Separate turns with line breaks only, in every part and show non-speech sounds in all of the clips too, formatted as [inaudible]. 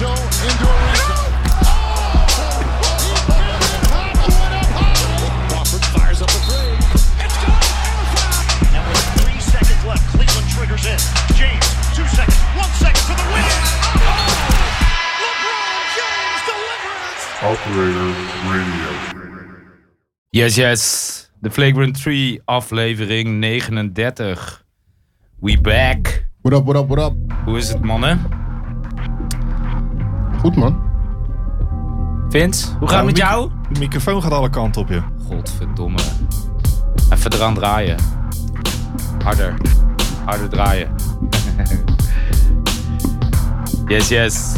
Indoor end zone. Crawford fires up a three. It's good.
And with three seconds left, Cleveland triggers in. James, two seconds, one second for the win. Oh, LeBron James delivers.
Operator Radio.
Yes, yes. De Flagrant 3, aflevering 39. We back.
What up, what up, what up?
Hoe is het, mannen?
Goed man.
Vince, hoe gaat het met
Mieke-
jou?
De microfoon gaat alle kanten op je.
Godverdomme. Even eraan draaien. Harder. Harder draaien. [laughs] yes, yes.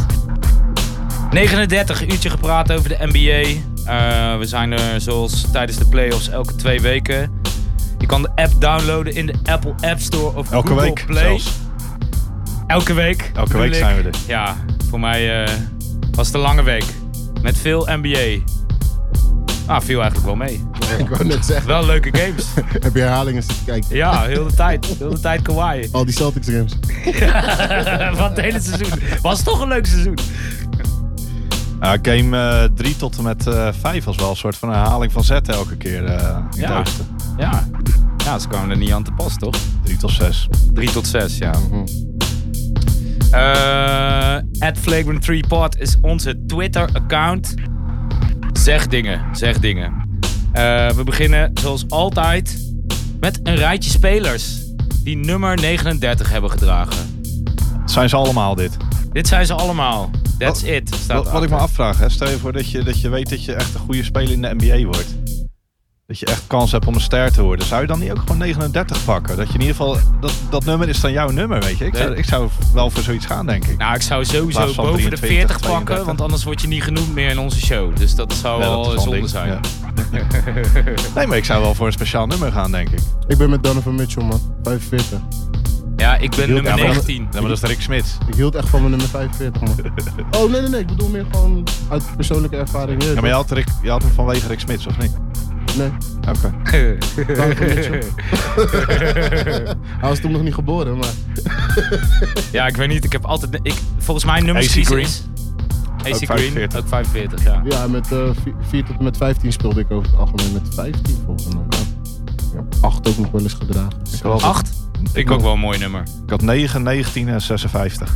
39 uurtje gepraat over de NBA. Eh, we zijn er zoals tijdens de playoffs elke twee weken. Je kan de app downloaden in de Apple App Store of
Elke
Google
week
Play.
zelfs.
Elke week.
Elke week
bedoel ik.
zijn we er.
Ja, voor mij eh, was het een lange week. Met veel NBA. Ah, viel eigenlijk wel mee.
[laughs] Ik wou net zeggen,
Wel leuke games.
heb je herhalingen zitten kijken?
Ja, heel de tijd. Heel de tijd Kawhi.
Al die Celtics games.
Van het hele seizoen. Was toch een leuk seizoen.
Ja, Eh, game 3 tot en met 5 was wel een soort van herhaling van zetten elke keer eh, in
Ja.
het oosten.
Ja. Ja, ze kwamen er niet aan te pas, toch?
3 tot 6.
3 tot 6, ja. Eh, At Flagrant 3 Pod is onze Twitter-account. Zeg dingen, zeg dingen. Eh, we beginnen zoals altijd met een rijtje spelers die nummer 39 hebben gedragen.
Zijn ze allemaal dit?
Dit zijn ze allemaal. That's
Wat-
it. Staat
Wat, wat ik me
erachter.
afvraag, hè, stel je voor dat je, dat je weet dat je echt een goede speler in de NBA wordt. Dat je echt kans hebt om een ster te worden. Zou je dan niet ook gewoon 39 pakken? Dat je in ieder geval, dat, dat nummer is dan jouw nummer, weet je? Ik, zou,
Nee.
ik zou wel voor zoiets gaan, denk ik.
Nou, ik zou sowieso
plaats van
boven de
23,
40 pakken,
32.
want anders word je niet genoemd meer in onze show. Dus dat zou
Ja, dat is
wel
wel een
zonde
ding,
zijn. [laughs]
ja. Nee, maar ik zou wel voor een speciaal nummer gaan, denk ik.
Ik ben met Donovan Mitchell man, 45.
Ja, ik ben
Ja,
nummer
maar dat-
19.
Ja, maar dat is Rick Smits.
Ik hield echt van mijn nummer 45 man.
[laughs]
Oh nee, nee, nee, ik bedoel meer gewoon uit persoonlijke ervaring.
Ja, maar je had, Rick, je had hem vanwege Rick Smits, of niet?
Nee,
Oké.
Donovan
[laughs]
Mitchell. Hij was toen nog niet geboren, maar...
[laughs] ja, ik weet niet. Ik heb altijd. Ik, volgens mij nummer
AC
6
Green.
is. AC
Ook
Green,
45.
ook 45, ja.
Ja, met 4 tot en met 15 speelde ik over het algemeen met 15 volgens mij. Ik heb 8 ook nog wel eens gedragen.
Ik had, altijd-
8? Ik ook wel een mooi nummer.
ik had 9, 19 en 56.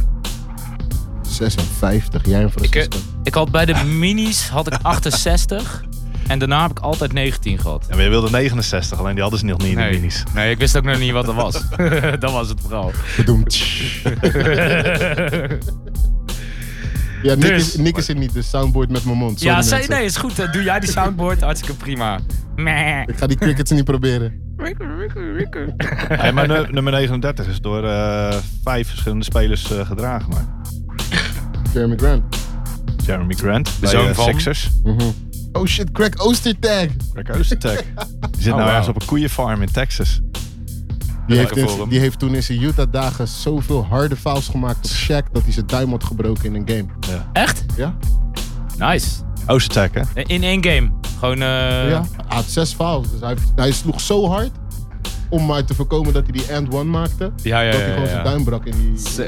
56, jij en
Ik, eh,
Francisco.
ik had bij
[laughs]
de minis had ik 68 en daarna heb ik altijd 19 gehad.
En we wilden 69, alleen die hadden ze nog niet in de
Nee, [laughs]
minis.
nee, ik wist ook nog niet wat dat was.
[laughs]
[laughs] dat was het vooral.
Bedoemd. Ja, Nick,
Dus-
is, Nick is er niet, de soundboard met mijn mond. Sorry,
ja, zei,
mensen.
nee, is goed. Dan Doe jij die soundboard, hartstikke prima. Meh.
Ik ga die crickets niet proberen.
Hey, maar nu- nummer 39 is door eh, vijf verschillende spelers eh, gedragen. Maar
Jeremy Grant.
Jeremy Grant, bij
zoon
eh,
van?
Sixers.
Oh shit, Craig Oostertag.
Greg
[laughs]
Oostertag. Die zit
Oh,
nou ergens
wauw.
op een koeienfarm in Texas.
Die heeft,
Lekker
in-
voor hem.
die heeft toen in zijn Utah-dagen zoveel harde fouls gemaakt op Shaq dat hij zijn duim had gebroken in een game.
Echt?
Ja?
Nice. Eh,
Oostertag, hè?
In één game. Gewoon, eh,
ja. Hij had zes fouls. Dus hij, hij sloeg zo hard om maar te voorkomen dat hij die end one maakte.
Ja, ja,
dat
ja,
hij gewoon
ja.
zijn duim brak in die... Mhm.
Zo.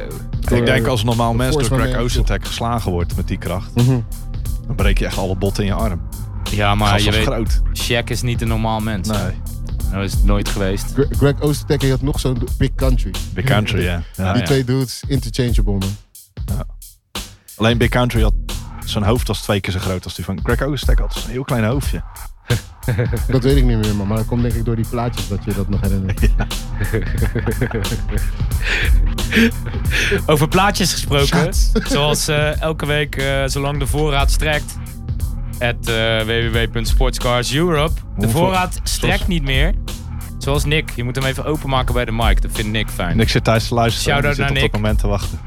ik denk als een normaal mens door
Force
Greg
waarmee-
Oostertag geslagen wordt met die kracht, dan breek je echt alle botten in je arm.
Ja, maar
Gast
je
was
weet,
groot.
Shaq is niet een normaal mens.
Nee,
Dat is het nooit geweest.
Gre- Greg Oostertag die had nog zo'n do- big country.
Big Country, ja. ja.
Ah,
Die
ja.
twee dudes, interchangeable man.
Alleen Big Country had zijn hoofd was twee keer zo groot als die van Greg Oostertag. Had een heel klein hoofdje.
Dat weet ik niet meer man, maar dat komt denk ik door die plaatjes dat je dat nog
[laughs]
herinnert.
Over plaatjes gesproken.
[laughs]
Zoals eh, elke week, eh, zolang de voorraad strekt. At eh, www.sportscars Europe. De
Hoeveel-
voorraad strekt
zoals-
niet meer. Zoals Nick. Je moet hem even openmaken bij de mic. Dat vindt Nick fijn.
En ik zit thuis te luisteren.
Shout-out
en ik zit
naar Nick.
op dat moment te wachten.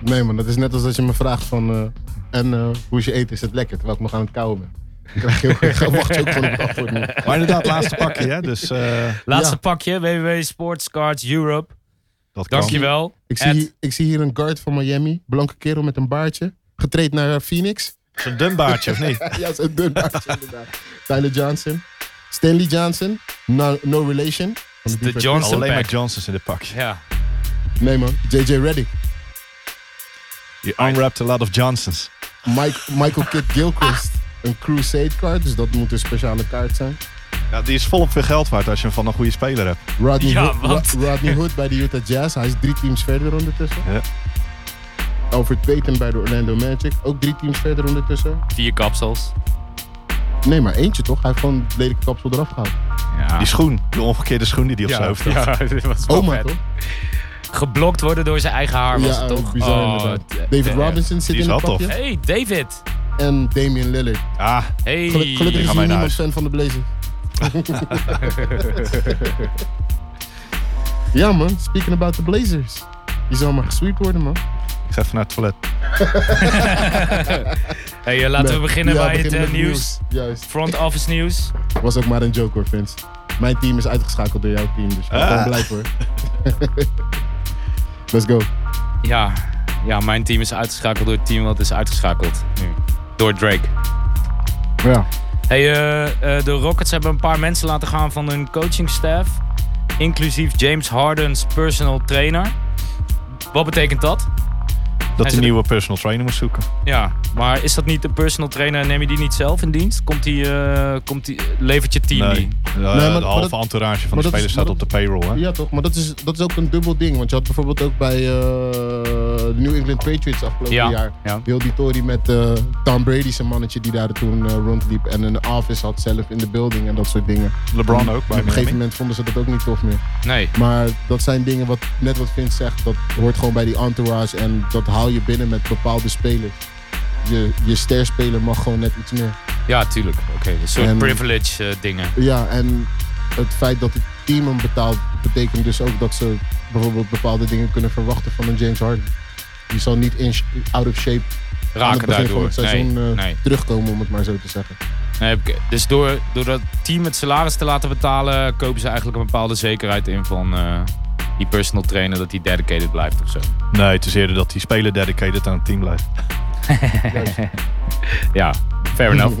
Nee man, dat is net als als je me vraagt van... eh, en eh, hoe is je eten? Is het lekker? Terwijl ik nog aan het kauwen ben. Dan krijg je ook, dan wacht je ook gewoon op het antwoord man.
Maar inderdaad, laatste pakje, hè? Dus eh,
Laatste
Ja.
pakje. www.sportscards Europe.
dat kan.
Dankjewel.
Ik
At-
zie, hier, ik zie hier een guard van Miami, blanke kerel met een baardje, getraind naar eh, Phoenix.
Zo'n dun baardje, of
[laughs]
niet?
[laughs] ja, zo'n dun baardje inderdaad. Tyler Johnson. Stanley Johnson, no, no relation. Van
de
Detroit
Johnson
Alleen maar
pack.
Johnsons in dit pakje.
Ja.
Pistons. Nee man, JJ Reddick.
Je unwrapped a lot of Johnsons.
Mike, Michael Kidd Gilchrist.
Ah.
Een Crusade kaart, dus dat moet een speciale kaart zijn.
Ja, die is volop veel geld waard als je hem van een goede speler hebt.
Rodney,
Ja,
Hood,
want-
Ro- Rodney Hood bij de Utah Jazz. Hij is drie teams verder ondertussen.
Ja.
Alfred Payton bij de Orlando Magic. Ook drie teams verder ondertussen.
Vier kapsels.
Nee, maar eentje toch? Hij heeft gewoon het lelijke kapsel eraf gehaald.
Ja.
Die schoen, de omgekeerde schoen die hij op zijn hoofd had.
ja, [laughs] dit was wel
Oma
vet.
toch?
Geblokt worden door zijn eigen haar was
ja,
het toch?
bizar
Oh,
inderdaad.
d-
David
eh,
Robinson zit
die is
in
wel
het
tof.
pakje.
Hey, David.
En Damian Lillard.
Ah,
Hey.
Geluk-
gaan
gelukkig is hier
wij naar
niemand
huis.
fan van de
[laughs]
Blazers. ja man, speaking about the Blazers. Die zal maar gesweept worden man.
ik ga even naar het toilet.
Hey, eh, laten we
Nee.
beginnen
Ja,
bij het
beginnen
eh,
met
nieuws.
Juist.
Front office nieuws.
Was ook maar een joke hoor, Vince. Mijn team is uitgeschakeld door jouw team, dus ik ben
Ah.
gewoon blij
[laughs]
voor. Let's go.
Ja. ja, mijn team is uitgeschakeld door het team wat is uitgeschakeld. Nu. Door Drake.
Ja.
Hey, eh, eh, de Rockets hebben een paar mensen laten gaan van hun coachingstaf. Inclusief James Harden's personal trainer. Wat betekent dat?
Dat
is
hij
er-
een nieuwe personal trainer moet zoeken.
Ja, maar is dat niet een personal trainer? Neem je die niet zelf in dienst? Komt die, eh, komt die, levert je team
Nee,
die?
eh,
maar-
de
maar
halve
dat-
entourage van
maar
de
dat is-
spelers staat
maar
op de payroll. Hè?
Ja toch, maar dat is, dat is ook een dubbel ding. Want je had bijvoorbeeld ook bij eh, de New England Patriots afgelopen
Ja,
jaar.
ja.
Heel die tory met eh, Tom Brady, zijn mannetje die daar toen eh, rondliep. En een office had zelf in de building en dat soort dingen.
LeBron ook bij
Op een gegeven
Miami.
moment vonden ze dat ook niet tof meer.
Nee.
Maar dat zijn dingen wat net wat Vince zegt, dat hoort gewoon bij die entourage. En dat haal je binnen met bepaalde spelers. Je, je sterspeler mag gewoon net iets meer.
Ja, tuurlijk. Oké, een soort
En-
privilege eh, dingen.
Ja, en het feit dat het team hem betaalt, betekent dus ook dat ze bijvoorbeeld bepaalde dingen kunnen verwachten van een James Harden. Die zal niet in, sh- out of shape aan het
Raken
begin van
daardoor.
het seizoen
nee,
eh,
nee.
terugkomen, om het maar zo te zeggen.
Nee, heb ik- dus door, door dat team het salaris te laten betalen, kopen ze eigenlijk een bepaalde zekerheid in van eh, die personal trainer dat hij dedicated blijft of zo.
Nee, het is eerder dat die speler dedicated aan het team blijft.
Ja, fair
[laughs]
enough.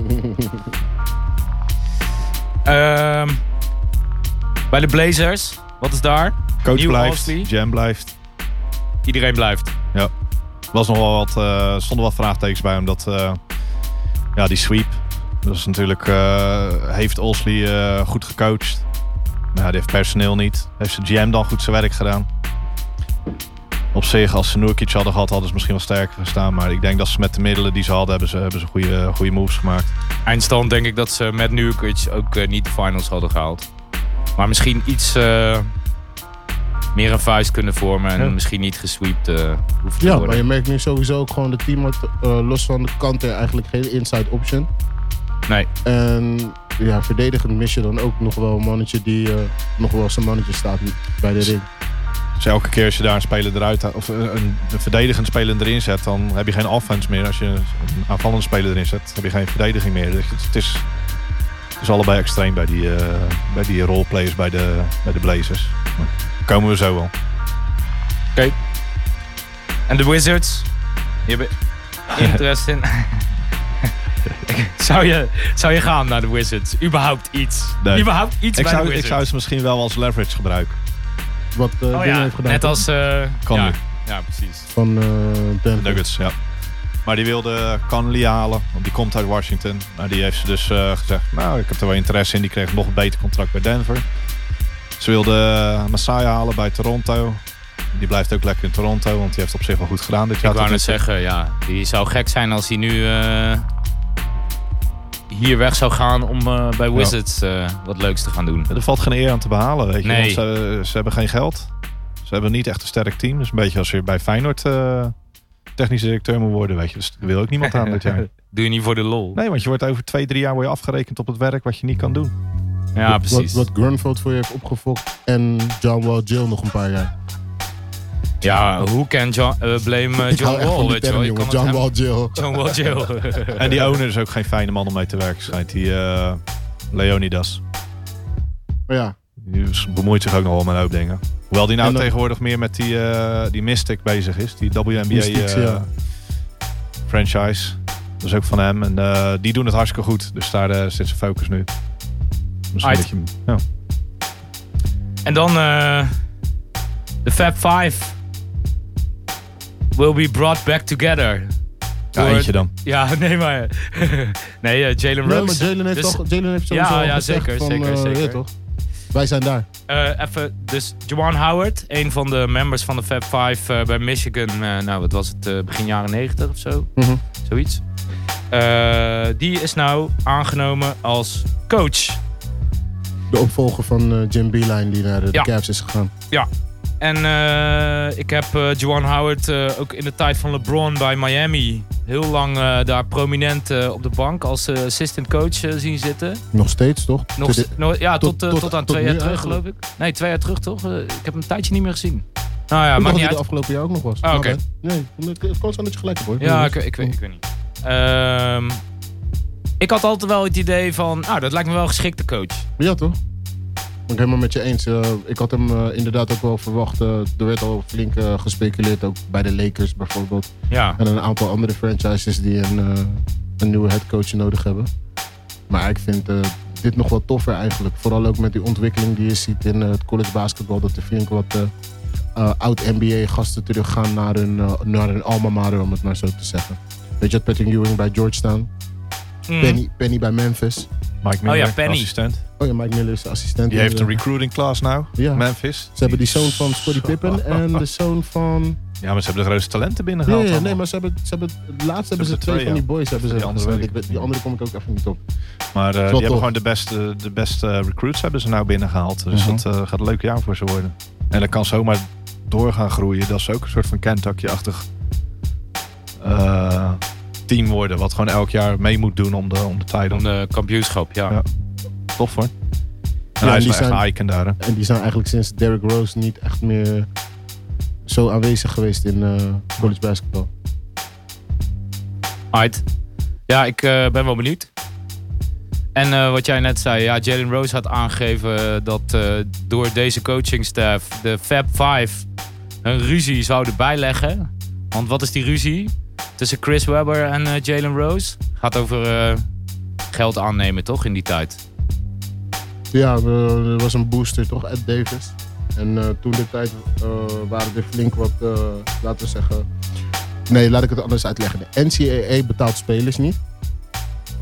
Ehm, bij de Blazers, wat is daar?
Coach
Nieuw
blijft,
Halsey.
Jam blijft.
Iedereen blijft.
Ja. Was nog wel wat, eh stonden wat vraagtekens bij hem. Dat, eh, ja, die sweep. Dat is natuurlijk, eh, heeft Osley eh, goed gecoacht? Nou, die heeft personeel niet. Heeft de GM dan goed zijn werk gedaan? Op zich, als ze Nurkic hadden gehad, hadden ze misschien wel sterker gestaan. Maar ik denk dat ze met de middelen die ze hadden, hebben ze, hebben ze goede, goede moves gemaakt.
Eindstand denk ik dat ze met Nurkic ook eh, niet de finals hadden gehaald. Maar misschien iets eh, meer een vuist kunnen vormen en
Ja.
misschien niet gesweept eh hoeven te
Ja, maar
worden.
je merkt nu sowieso ook gewoon dat team had eh, los van de kanten eigenlijk geen inside option.
Nee.
En ja, verdedigend mis je dan ook nog wel een mannetje die eh, nog wel zijn mannetje staat bij de ring.
Dus elke keer als je daar een speler eruit haalt- of eh, een, een verdedigend speler erin zet, dan heb je geen offense meer. Als je een aanvallende speler erin zet, heb je geen verdediging meer. Dus het, het is, het is allebei extreem bij die, eh bij die roleplayers bij de, bij de Blazers. Maar Komen we zo wel.
En de Wizards? Je hebt interesse
[laughs]
in. zou, je, zou je gaan naar de Wizards? Überhaupt iets?
Nee.
Überhaupt iets
Ik
bij de
zou, ik
Wizards?
zou ze misschien wel als leverage gebruiken.
Wat eh
oh,
Dingen
ja.
heeft gedaan.
Net
toch?
als... eh,
Kan
ja.
nu.
ja, precies.
Van eh Denver.
Nuggets, ja. Maar die wilde Conley halen, want die komt uit Washington. Maar die heeft ze dus eh, gezegd, nou, ik heb er wel interesse in. Die kreeg nog een beter contract bij Denver. Ze wilde eh, Masai halen bij Toronto. Die blijft ook lekker in Toronto, want die heeft op zich wel goed gedaan dit jaar.
ik wou
Tot
net zeggen, ja. Die zou gek zijn als hij nu eh, hier weg zou gaan om eh, bij Wizards eh, wat leuks te gaan doen.
nu toe. Er valt geen eer aan te behalen, weet je.
Nee.
Want ze, ze hebben geen geld. Ze hebben niet echt een sterk team. Dus een beetje als je bij Feyenoord eh technisch directeur moet worden, weet je. Dus daar wil ook niemand aan
[laughs]
dit jaar.
Doe je niet voor de lol.
Nee, want je wordt over twee, drie jaar word je afgerekend op het werk wat je niet kan doen.
Ja,
Wat-
precies.
Wat, wat Grunfeld voor je heeft opgefokt. En John Wall Jill nog een paar jaar.
Ja, hoe can John, eh, blame eh,
Ik
John
hou echt van
Wall,
die
weet je wel.
term,
Je
jongen.
kan het
John
hem-
Wall Jill.
John Wall, Jill. [laughs]
En die owner is ook geen fijne man om mee te werken, schijnt. Die eh, Leonidas.
[laughs]
Maar ja,
Die is- bemoeit zich ook nog wel met een hoop dingen. Hoewel die nou
En dan-
tegenwoordig meer met die, eh, die Mystic bezig is. Die WNBA
Mystics,
eh,
ja.
franchise. Dat is ook van hem. En eh, die doen het hartstikke goed. Dus daar eh, zit zijn focus nu. Misschien
Uit.
dat je hem- ja.
En dan eh, de Fab 5. will be brought back together.
Ja,
Door-
eentje dan.
Ja, [laughs] nee, maar... nee, eh, Jalen
Nee, maar
Ruggs.
Jalen heeft,
Dus,
toch, Jalen heeft
Ja,
sowieso al
ja,
gezegd
zeker,
van,
zeker,
eh,
zeker.
ja, toch? Wij zijn daar.
eh, even, dus Jawan Howard, een van de members van de Fab Five eh, bij Michigan. eh, nou, wat was het? eh, begin jaren 90 of zo?
Mhm.
Zoiets. Eh, die is nou aangenomen als coach.
De opvolger van eh, Jim Beeline die naar de, de
Ja.
Cavs is gegaan.
En eh, ik heb eh Juwan Howard eh, ook in de tijd van LeBron bij Miami heel lang eh, daar prominent eh, op de bank als eh, assistant coach eh, zien zitten.
Nog steeds, toch?
Nog,
Tot-
st- nog- ja, tot,
tot-
eh,
tot-
tot aan
tot
twee jaar
nu
terug, geloof ik.
eigenlijk.
Nee, twee jaar terug toch? Eh, ik heb hem een tijdje niet meer gezien. Nou ja, maakt
Ik dacht dat
niet
hij de
uit.
afgelopen jaar ook nog was.
Ah, oké.
Maar, eh, Nee, het- het kan zijn dat je gelijk hebt hoor.
Ja, ik, ik, weet, ik weet niet. Ehm, ik had altijd wel het idee van, nou, dat lijkt me wel een geschikte coach.
Ja, toch? Ben ik helemaal met je eens. Eh, ik had hem eh, inderdaad ook wel verwacht. Eh, er werd al flink eh, gespeculeerd, ook bij de Lakers bijvoorbeeld.
Ja.
En een aantal andere franchises die een, eh, een nieuwe headcoach nodig hebben. Maar ik vind eh, dit nog wel toffer eigenlijk. Vooral ook met die ontwikkeling die je ziet in eh, het college basketbal. Dat er flink wat eh, oud-NBA gasten teruggaan naar hun, eh, naar hun alma mater, om het maar zo te zeggen. Weet je, dat Patrick Ewing bij Georgetown,
Mhm.
Mm.
Penny, Penny bij Memphis.
Mike Miller,
Oh Penny.
assistent.
Oh ja, Mike Miller is de assistent.
Die heeft een
Eh,
recruiting class nou,
Ja.
Memphis.
Ze hebben die zoon van Scottie
[laughs]
Pippen en de zoon van...
Ja, maar ze hebben de grootste talenten
Ja,
binnengehaald.
ja, nee,
allemaal.
maar ze hebben, ze hebben, laatst hebben ze twee
hebben twee,
van
ja.
die boys hebben ze
Die andere
gesteld. Ik
weet ik
weet- Die
niet.
andere kom ik ook even niet op.
Maar eh, die
tof.
hebben gewoon de beste, de beste recruits hebben ze nou binnengehaald. Dus
Mhm.
dat eh, gaat een leuk jaar voor ze worden. En dat kan zomaar door gaan groeien. Dat ze ook een soort van Kentucky-achtig eh, team worden. Wat gewoon elk jaar mee moet doen om de, om de tijd.
Van de kampioenschap, ja.
Ja. Tof hoor. En
Ja,
hij is
die
wel echt
zijn-
een icon daar. hè.
En die zijn eigenlijk sinds Derrick Rose niet echt meer zo aanwezig geweest in eh, college basketbal.
Alright. Ja, ik eh, ben wel benieuwd. En eh, wat jij net zei, ja, Jalen Rose had aangegeven dat eh, door deze coachingstaf de Fab Five een ruzie zouden bijleggen. Want wat is die ruzie tussen Chris Webber en eh, Jalen Rose? Gaat over eh, geld aannemen, toch, in die tijd?
Ja, we- er was een booster toch, Ed Davis. En eh, toen de tijd eh, waren er flink wat, eh, laten we zeggen... Nee, laat ik het anders uitleggen. De NCAA betaalt spelers niet.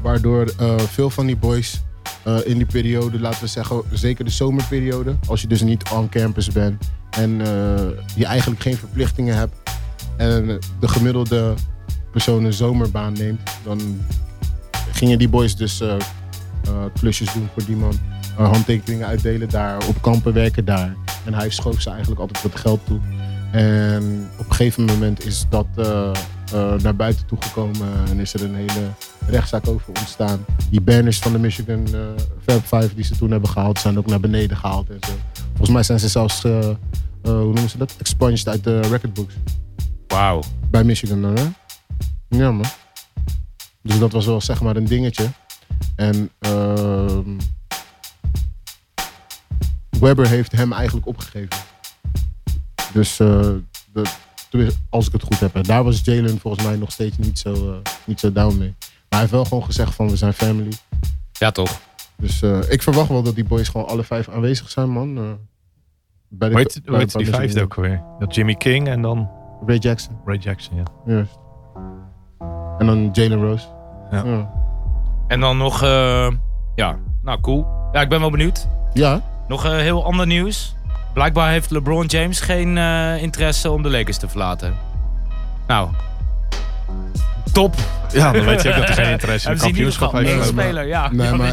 Waardoor eh, veel van die boys eh, in die periode, laten we zeggen, zeker de zomerperiode, als je dus niet on campus bent en eh, je eigenlijk geen verplichtingen hebt en de gemiddelde persoon een zomerbaan neemt, dan gingen die boys dus eh, eh, klusjes doen voor die man. Eh, handtekeningen uitdelen daar, op kampen werken daar. En hij schoof ze eigenlijk altijd wat geld toe. En op een gegeven moment is dat eh, eh, naar buiten toegekomen en is er een hele rechtszaak over ontstaan. Die banners van de Michigan eh, Fab Five die ze toen hebben gehaald, zijn ook naar beneden gehaald en zo. Volgens mij zijn ze zelfs, eh, eh, hoe noemen ze dat? Expunged uit de recordbooks.
Wauw.
Bij Michigan dan, hè? Ja, man. Dus dat was wel zeg maar een dingetje. En ehm Webber heeft hem eigenlijk opgegeven. Dus eh, de, tenminste, als ik het goed heb. hè. Daar was Jalen volgens mij nog steeds niet zo, eh, niet zo down mee. Maar hij heeft wel gewoon gezegd van we zijn family.
Ja, toch?
Dus eh, ik verwacht wel dat die boys gewoon alle vijf aanwezig zijn, man. Eh, bij de-
Hoe heet,
bij
hoe heet die
Michigan.
vijfde ook weer? Dat Jimmy King en dan
Ray Jackson.
Ray Jackson. Ja.
Juist. En dan Jalen Rose.
Ja.
Ja.
En dan nog, eh, ja, nou cool. Ja, ik ben wel benieuwd.
Ja,
Nog eh, heel ander nieuws. Blijkbaar heeft LeBron James geen eh, interesse om de Lakers te verlaten. Nou. Top.
ja, dan [laughs] weet je ook dat hij geen interesse in
Hebben
het
ze in ieder
kampioenschap
geval
heeft.
één
Nee, maar-
speler, ja. [laughs]
Nee,
Ja,
maar-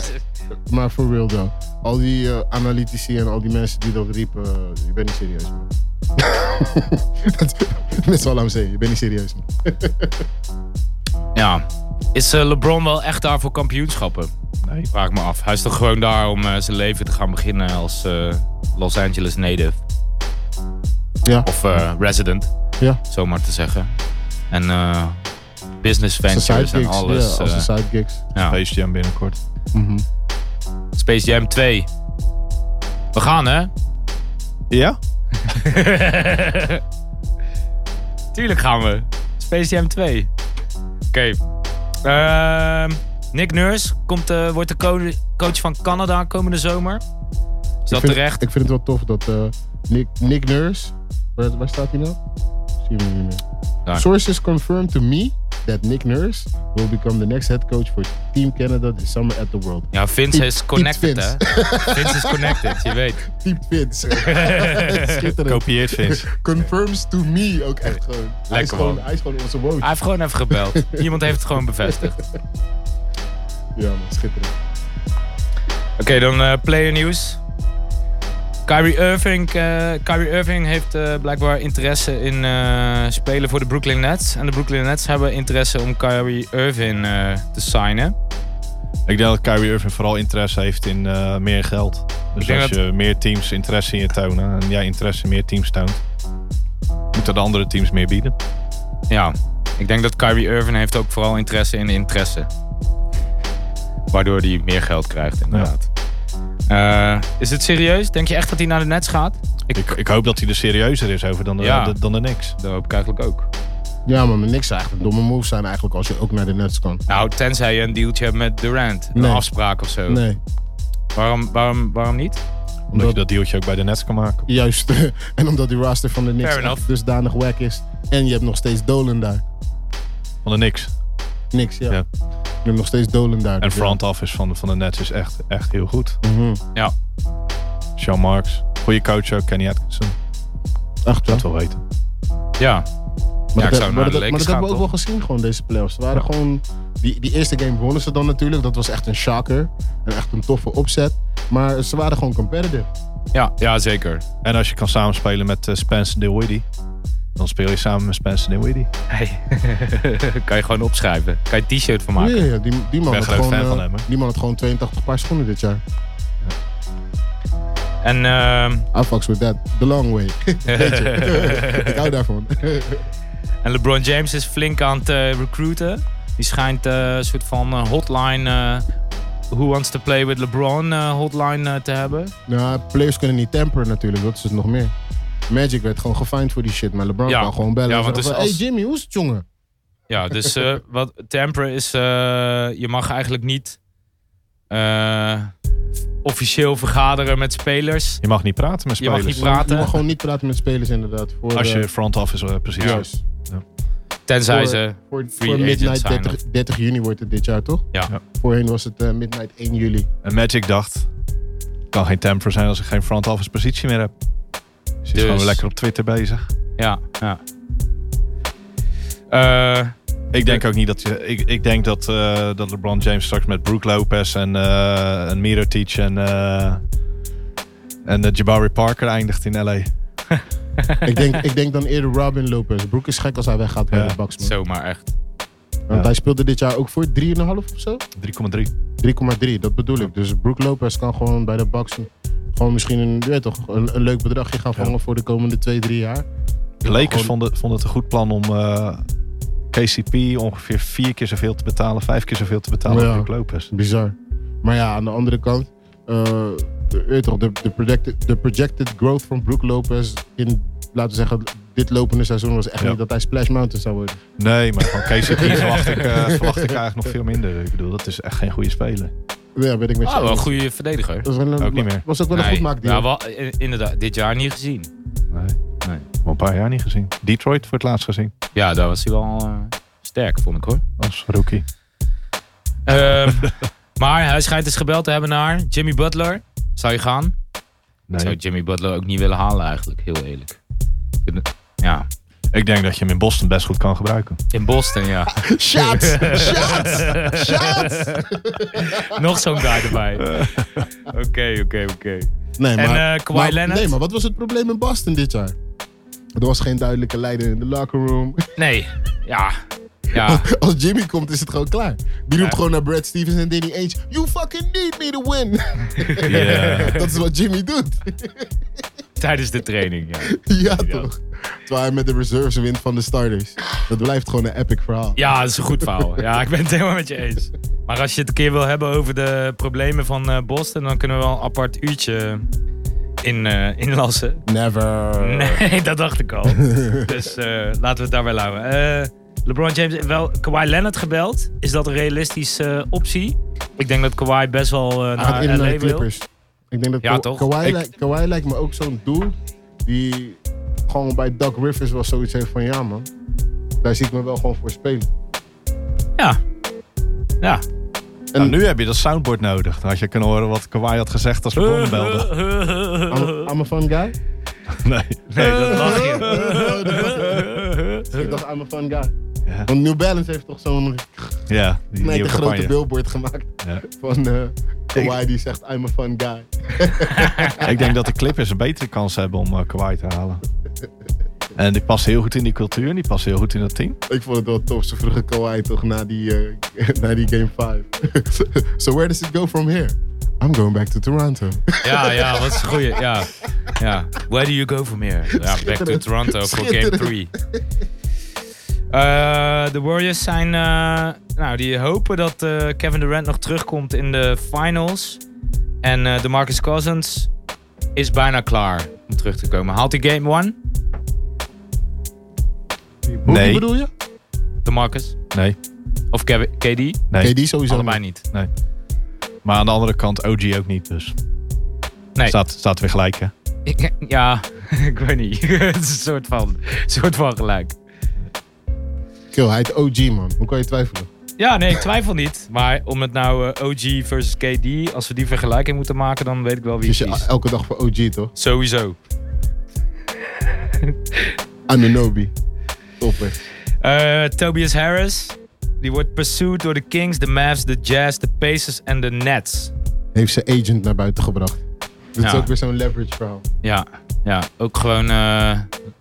dit-
maar for real though. Al die eh, analytici en al die mensen die dat riepen, eh, je bent niet serieus
[laughs]
man. Dat- That's all I'm saying, je bent niet serieus man.
Ja. Is eh, LeBron wel echt daar voor kampioenschappen?
Nee.
Vraag ik me af. Hij is toch gewoon daar om eh, zijn leven te gaan beginnen als eh, Los Angeles native.
Ja.
Of eh, resident,
Ja.
zomaar te zeggen. En eh, business ventures en alles.
ja, als de
eh,
side gigs.
ja.
Face Jam binnenkort.
Mhm.
Space Jam 2. We gaan, hè?
Ja?
[laughs] Tuurlijk gaan we. Space Jam 2. Oké. Ehm, Nick Nurse komt, eh, wordt de co- coach van Canada komende zomer. Is dat
ik vind,
terecht?
Ik vind het wel tof dat eh, Nick, Nick Nurse, waar, waar staat hij nou? Zien we niet meer.
Daar.
Sources confirmed to me that Nick Nurse will become the next head coach for Team Canada this summer at the World.
Ja, Vince
Piep-
is connected,
Piep
hè? Vince is connected, je weet.
Team Vince. [laughs] Schitterend.
Kopieert
[laughs]
Vince.
Confirms to me ook echt gewoon. hij, is
Lekker,
gewoon
man.
hij is gewoon onze woon.
Hij heeft gewoon even
[laughs]
gebeld. Iemand heeft het gewoon bevestigd.
Ja, man, schitterend.
Oké, dan eh, player nieuws. Kyrie Irving, eh, Kyrie Irving heeft eh, blijkbaar interesse in eh, spelen voor de Brooklyn Nets. En de Brooklyn Nets hebben interesse om Kyrie Irving eh, te signen.
Ik denk dat Kyrie Irving vooral interesse heeft in eh, meer geld. Dus
denk
als
dat-
je meer teams interesse in je tonen en jij interesse in meer teams toont, moeten de andere teams meer bieden.
Ja, ik denk dat Kyrie Irving heeft ook vooral interesse in de interesse. Waardoor hij meer geld krijgt, inderdaad. Eh, is het serieus? Denk je echt dat hij naar de Nets gaat?
Ik, ik hoop dat hij er serieuzer is over dan de,
Ja.
de- dan de niks.
Dat hoop ik eigenlijk ook.
Ja, man, maar niks eigenlijk. Domme moves zijn eigenlijk als je ook naar de Nets kan.
Nou, tenzij je een dealtje hebt met Durant. Een
Nee.
afspraak of zo.
Nee.
Waarom, waarom, waarom niet?
Omdat
Omdat-
je dat dealtje ook bij de Nets kan maken.
Juist. [laughs] en omdat die roster van de Knicks
Fair
echt
enough.
dusdanig wack is. En je hebt nog steeds Dolan daar.
Van de niks.
Niks, ja.
Ja.
Je hebt nog steeds Dolan daar.
En
Dus ja.
front office van, van de Nets is echt, echt heel goed.
Mhm.
Ja.
Sean Marks. Goede coach ook, Kenny Atkinson.
Echt wel.
Dat wil weten.
Ja,
Maar
Ja, ik
dat,
zou
maar
naar de
dat- maar
Lakers
dat
gaan,
hebben we
toch?
ook wel gezien, gewoon deze playoffs. Het waren gewoon, die, die eerste game wonnen ze dan natuurlijk. Dat was echt een shocker. En echt een toffe opzet. Maar ze waren gewoon competitive.
ja, ja zeker.
En als je kan samenspelen met eh, Spencer Dinwiddie, dan speel je samen met Spencer Dinwiddie.
Hey. [laughs] kan je gewoon opschrijven. Kan je een t-shirt van
Ja,
maken.
ja, die, die, man
ben
had
groot
gewoon,
fan
eh,
van hem, hè.
die man had gewoon 82 paar schoenen dit jaar.
En ehm,
I fucks with that. The long
[laughs]
way. Weet je. Ik hou daarvan. [laughs]
En LeBron James is flink aan het eh, recruiten. Die schijnt eh, een soort van eh, hotline, eh, Who Wants to Play with LeBron eh, hotline eh, te hebben.
nou, players kunnen niet temperen natuurlijk. Dat is het nog meer. Magic werd gewoon gefined voor die shit. Maar LeBron
Ja.
kan gewoon bellen.
Ja,
en
want
zeggen
dus
van,
als-
Hey Jimmy, hoe is het jongen?
Ja, dus eh, wat temperen is, eh, je mag eigenlijk niet eh, officieel vergaderen met spelers.
Je mag niet praten met
Je mag
spelers.
niet
Je
praten
mag gewoon niet praten met spelers inderdaad. Voor,
Als
eh,
je front office eh, precies.
Ja.
juist.
tenzij
Voor-
ze...
Voor,
Free
voor
agent
Midnight
zijn
30, 30 juni wordt het dit jaar, toch?
Ja.
Ja.
Voorheen was het eh, Midnight 1 juli.
[laughs]
En Magic dacht, kan geen temper zijn als ik geen front office positie meer heb. Dus hij is
Dus.
gewoon lekker op Twitter bezig.
Ja, ja. Eh,
Ik denk ook niet dat je. Ik, ik denk dat, eh, dat LeBron James straks met Brook Lopez en, eh en Mirotic en. eh, en eh, Jabari Parker eindigt in LA.
ik, denk, ik denk dan eerder Robin Lopez. Broek is gek als hij weggaat bij
Ja.
de Bucks, man.
zomaar echt.
Want
Ja.
hij speelde dit jaar ook voor 3,5 of zo?
3,3.
3,3, dat bedoel ik. Dus Brook Lopez kan gewoon bij de Bucks gewoon misschien een, je weet toch, een, een leuk bedragje gaan vangen voor de komende 2, 3 jaar.
De Lakers
Gewoon-
vonden, vonden het een goed plan om eh, KCP ongeveer vier keer zoveel te betalen, vijf keer zoveel te betalen
Ja.
als Brook Lopez.
Bizar. Maar ja, aan de andere kant, eh, de, weet toch, de, de, projected, de projected growth van Brook Lopez in, laten we zeggen, dit lopende seizoen was echt
Ja.
niet dat hij Splash Mountain zou worden.
Nee, maar van KCP
[laughs]
verwacht, ik, eh, verwacht ik eigenlijk nog veel minder. Ik bedoel, dat is echt geen goede speler.
Ja, weet ik met je
Ah, wel een
eens.
goede verdediger.
Dat was wel een-
Ook niet meer.
was ook wel een
Nee.
goed maakdeal.
Ja, wel, eh, inderdaad. Dit jaar niet gezien.
Nee. nee. Al een paar jaar niet gezien. Detroit voor het laatst gezien.
Ja, daar was hij wel eh, sterk, vond ik hoor.
Als rookie.
Ehm,
[laughs]
maar hij schijnt eens gebeld te hebben naar Jimmy Butler. Zou je gaan? Ik zou
Nee.
Jimmy Butler ook niet willen halen eigenlijk, heel eerlijk. Ik vind het- Ja,
Ik denk dat je hem in Boston best goed kan gebruiken.
in Boston,
[laughs]
ja. [laughs]
Shots! Shots! Shots!
Nog zo'n guy erbij.
[laughs]
Oké, oké, oké.
Nee,
En,
maar,
eh, Kawhi
maar-
Leonard?
Nee, maar wat was het probleem in Boston dit jaar? Er was geen duidelijke leider in de locker room. [laughs]
Nee, ja. Ja,
Als Jimmy komt, is het gewoon klaar. Die roept gewoon naar Brad Stevens en Danny Ainge. You fucking need me to win. [laughs] Dat is wat Jimmy doet. [laughs]
tijdens de training, ja.
ja, toch? Terwijl hij met de reserves wint van de starters. Dat blijft gewoon een epic verhaal.
Ja, dat is een goed verhaal. Ja, ik ben het helemaal met je eens. Maar als je het een keer wil hebben over de problemen van eh, Boston, dan kunnen we wel een apart uurtje in, eh, inlassen.
Never.
Nee, dat dacht ik al. dus eh, laten we het daarbij laten. Eh, LeBron James, heeft wel Kawhi Leonard gebeld. Is dat een realistische eh, optie? Ik denk dat Kawhi best wel eh,
Hij gaat
naar
in naar
LA
de
wil.
Clippers. Ik denk dat
Ja,
Ka-
toch?
Kawhi,
Ik-
lijkt- Kawhi lijkt me ook zo'n doel die gewoon bij Doug Rivers wel zoiets heeft van ja man, daar zie ik me wel gewoon voor spelen.
Ja. Ja.
En
Nou, nu heb je dat soundboard nodig. Dan had je kunnen horen wat Kawhi had gezegd als LeBron
[laughs]
belde.
I'm, I'm a fun guy.
[laughs] Nee, nee dat lag
[laughs]
je.
Dus Ik dacht I'm a fun guy.
Ja.
Want New Balance heeft toch zo'n
Ja, die
nee,
nieuwe
grote
campagne.
billboard gemaakt
Ja.
van eh Kawhi die zegt I'm a fun guy.
Ik denk dat de Clippers een betere kans hebben om eh, Kawhi te halen. En die past heel goed in die cultuur. en Die past heel goed in dat team.
Ik vond het wel tof. Ze vroegen Kawhi toch na die, eh, [laughs] na die game 5. [laughs] so where does it go from here? I'm going back to Toronto.
Ja, ja, wat is een goeie. Ja. ja. Where do you go from here? Ja, back to
Schitterend.
Toronto voor game
Schitterend.
3. de Warriors zijn. eh, nou, die hopen dat eh, Kevin Durant nog terugkomt in de finals. En eh de Marcus Cousins is bijna klaar om terug te komen. Haalt hij game 1?
Hoe
Nee.
bedoel je?
De Marcus?
Nee,
Of Kev- KD?
nee.
KD sowieso.
Allebei niet.
nee. Maar aan de andere kant OG ook niet. Dus
Nee.
staat, staat weer gelijk, hè?
Ik- ja, [laughs] ik weet niet. [laughs] Het is een soort van, soort van gelijk.
Kill, hij heet OG man. Hoe kan je twijfelen?
Ja, nee, ik twijfel niet. Maar om het nou eh, OG versus KD, als we die vergelijking moeten maken, dan weet ik wel wie
Kies
het
Dus je
is.
elke dag voor OG toch?
Sowieso.
Anunobi. Topper.
Eh, Tobias Harris, die wordt pursued door de Kings, de Mavs, de Jazz, de Pacers en de Nets.
Heeft zijn agent naar buiten gebracht. Dit is
Ja.
ook weer zo'n leverage
[laughs]
verhaal.
Ja, ja ook gewoon eh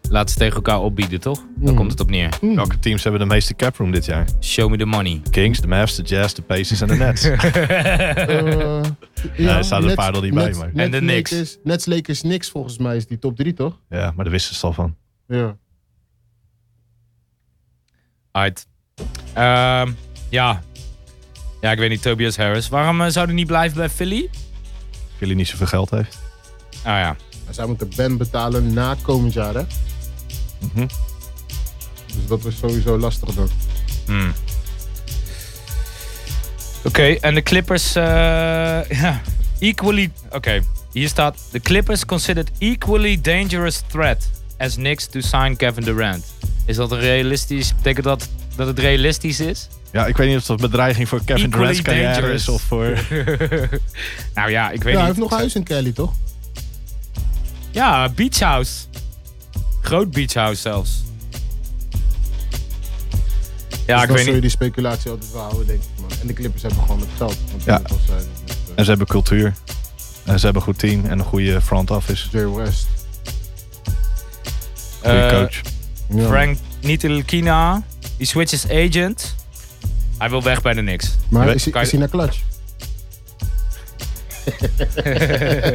laten ze tegen elkaar opbieden, toch? Daar komt het op neer.
Hmm.
Welke teams hebben de meeste caproom dit jaar?
Show me the money.
Kings, de Mavs, de Jazz, de Pacers en de
[laughs]
Nets.
Eh,
er staan er een paar al niet bij,
Nets-
maar-
Nets-
En de Knicks.
Lakers- Nets Lakers niks volgens mij is die top 3 toch?
ja, maar daar wisten ze al van.
Ja.
Uit. Ehm, ja. Ja, ik weet niet, Tobias Harris. Waarom eh, zou hij niet blijven bij Philly?
Jullie niet zoveel geld heeft.
Oh ja.
Maar Zij moeten Ben betalen na komend jaar hè?
Mhm.
Dus dat was sowieso lastig dan.
Hmm. Oké, en de Clippers. eh, [laughs] ja, equally. Oké, hier staat. The Clippers considered equally dangerous threat as Knicks to sign Kevin Durant. Is dat een realistisch? Betekent dat dat het realistisch is?
Ja, ik weet niet of dat bedreiging voor Kevin
Equally
Durant's carrière
dangerous.
is of voor...
nou ja, ik weet
Ja, hij
niet.
heeft nog huis in Kelly toch?
Ja, beach house. Groot beach house zelfs. Ja,
Dus
ik
dan
weet
zul
niet.
je die speculatie altijd wel houden, denk ik. Man. En de Clippers hebben gewoon het geld. Want
Ja.
net als, eh, met, eh,
En ze hebben cultuur. En ze hebben een goed team en een goede front office.
Jay West.
Goede
Eh,
coach.
Ja.
Frank Nitilkina, die switches agent. Hij wil weg bij de Knicks.
Maar
Je
is,
kan
hij- is
je-
hij naar clutch?
[laughs]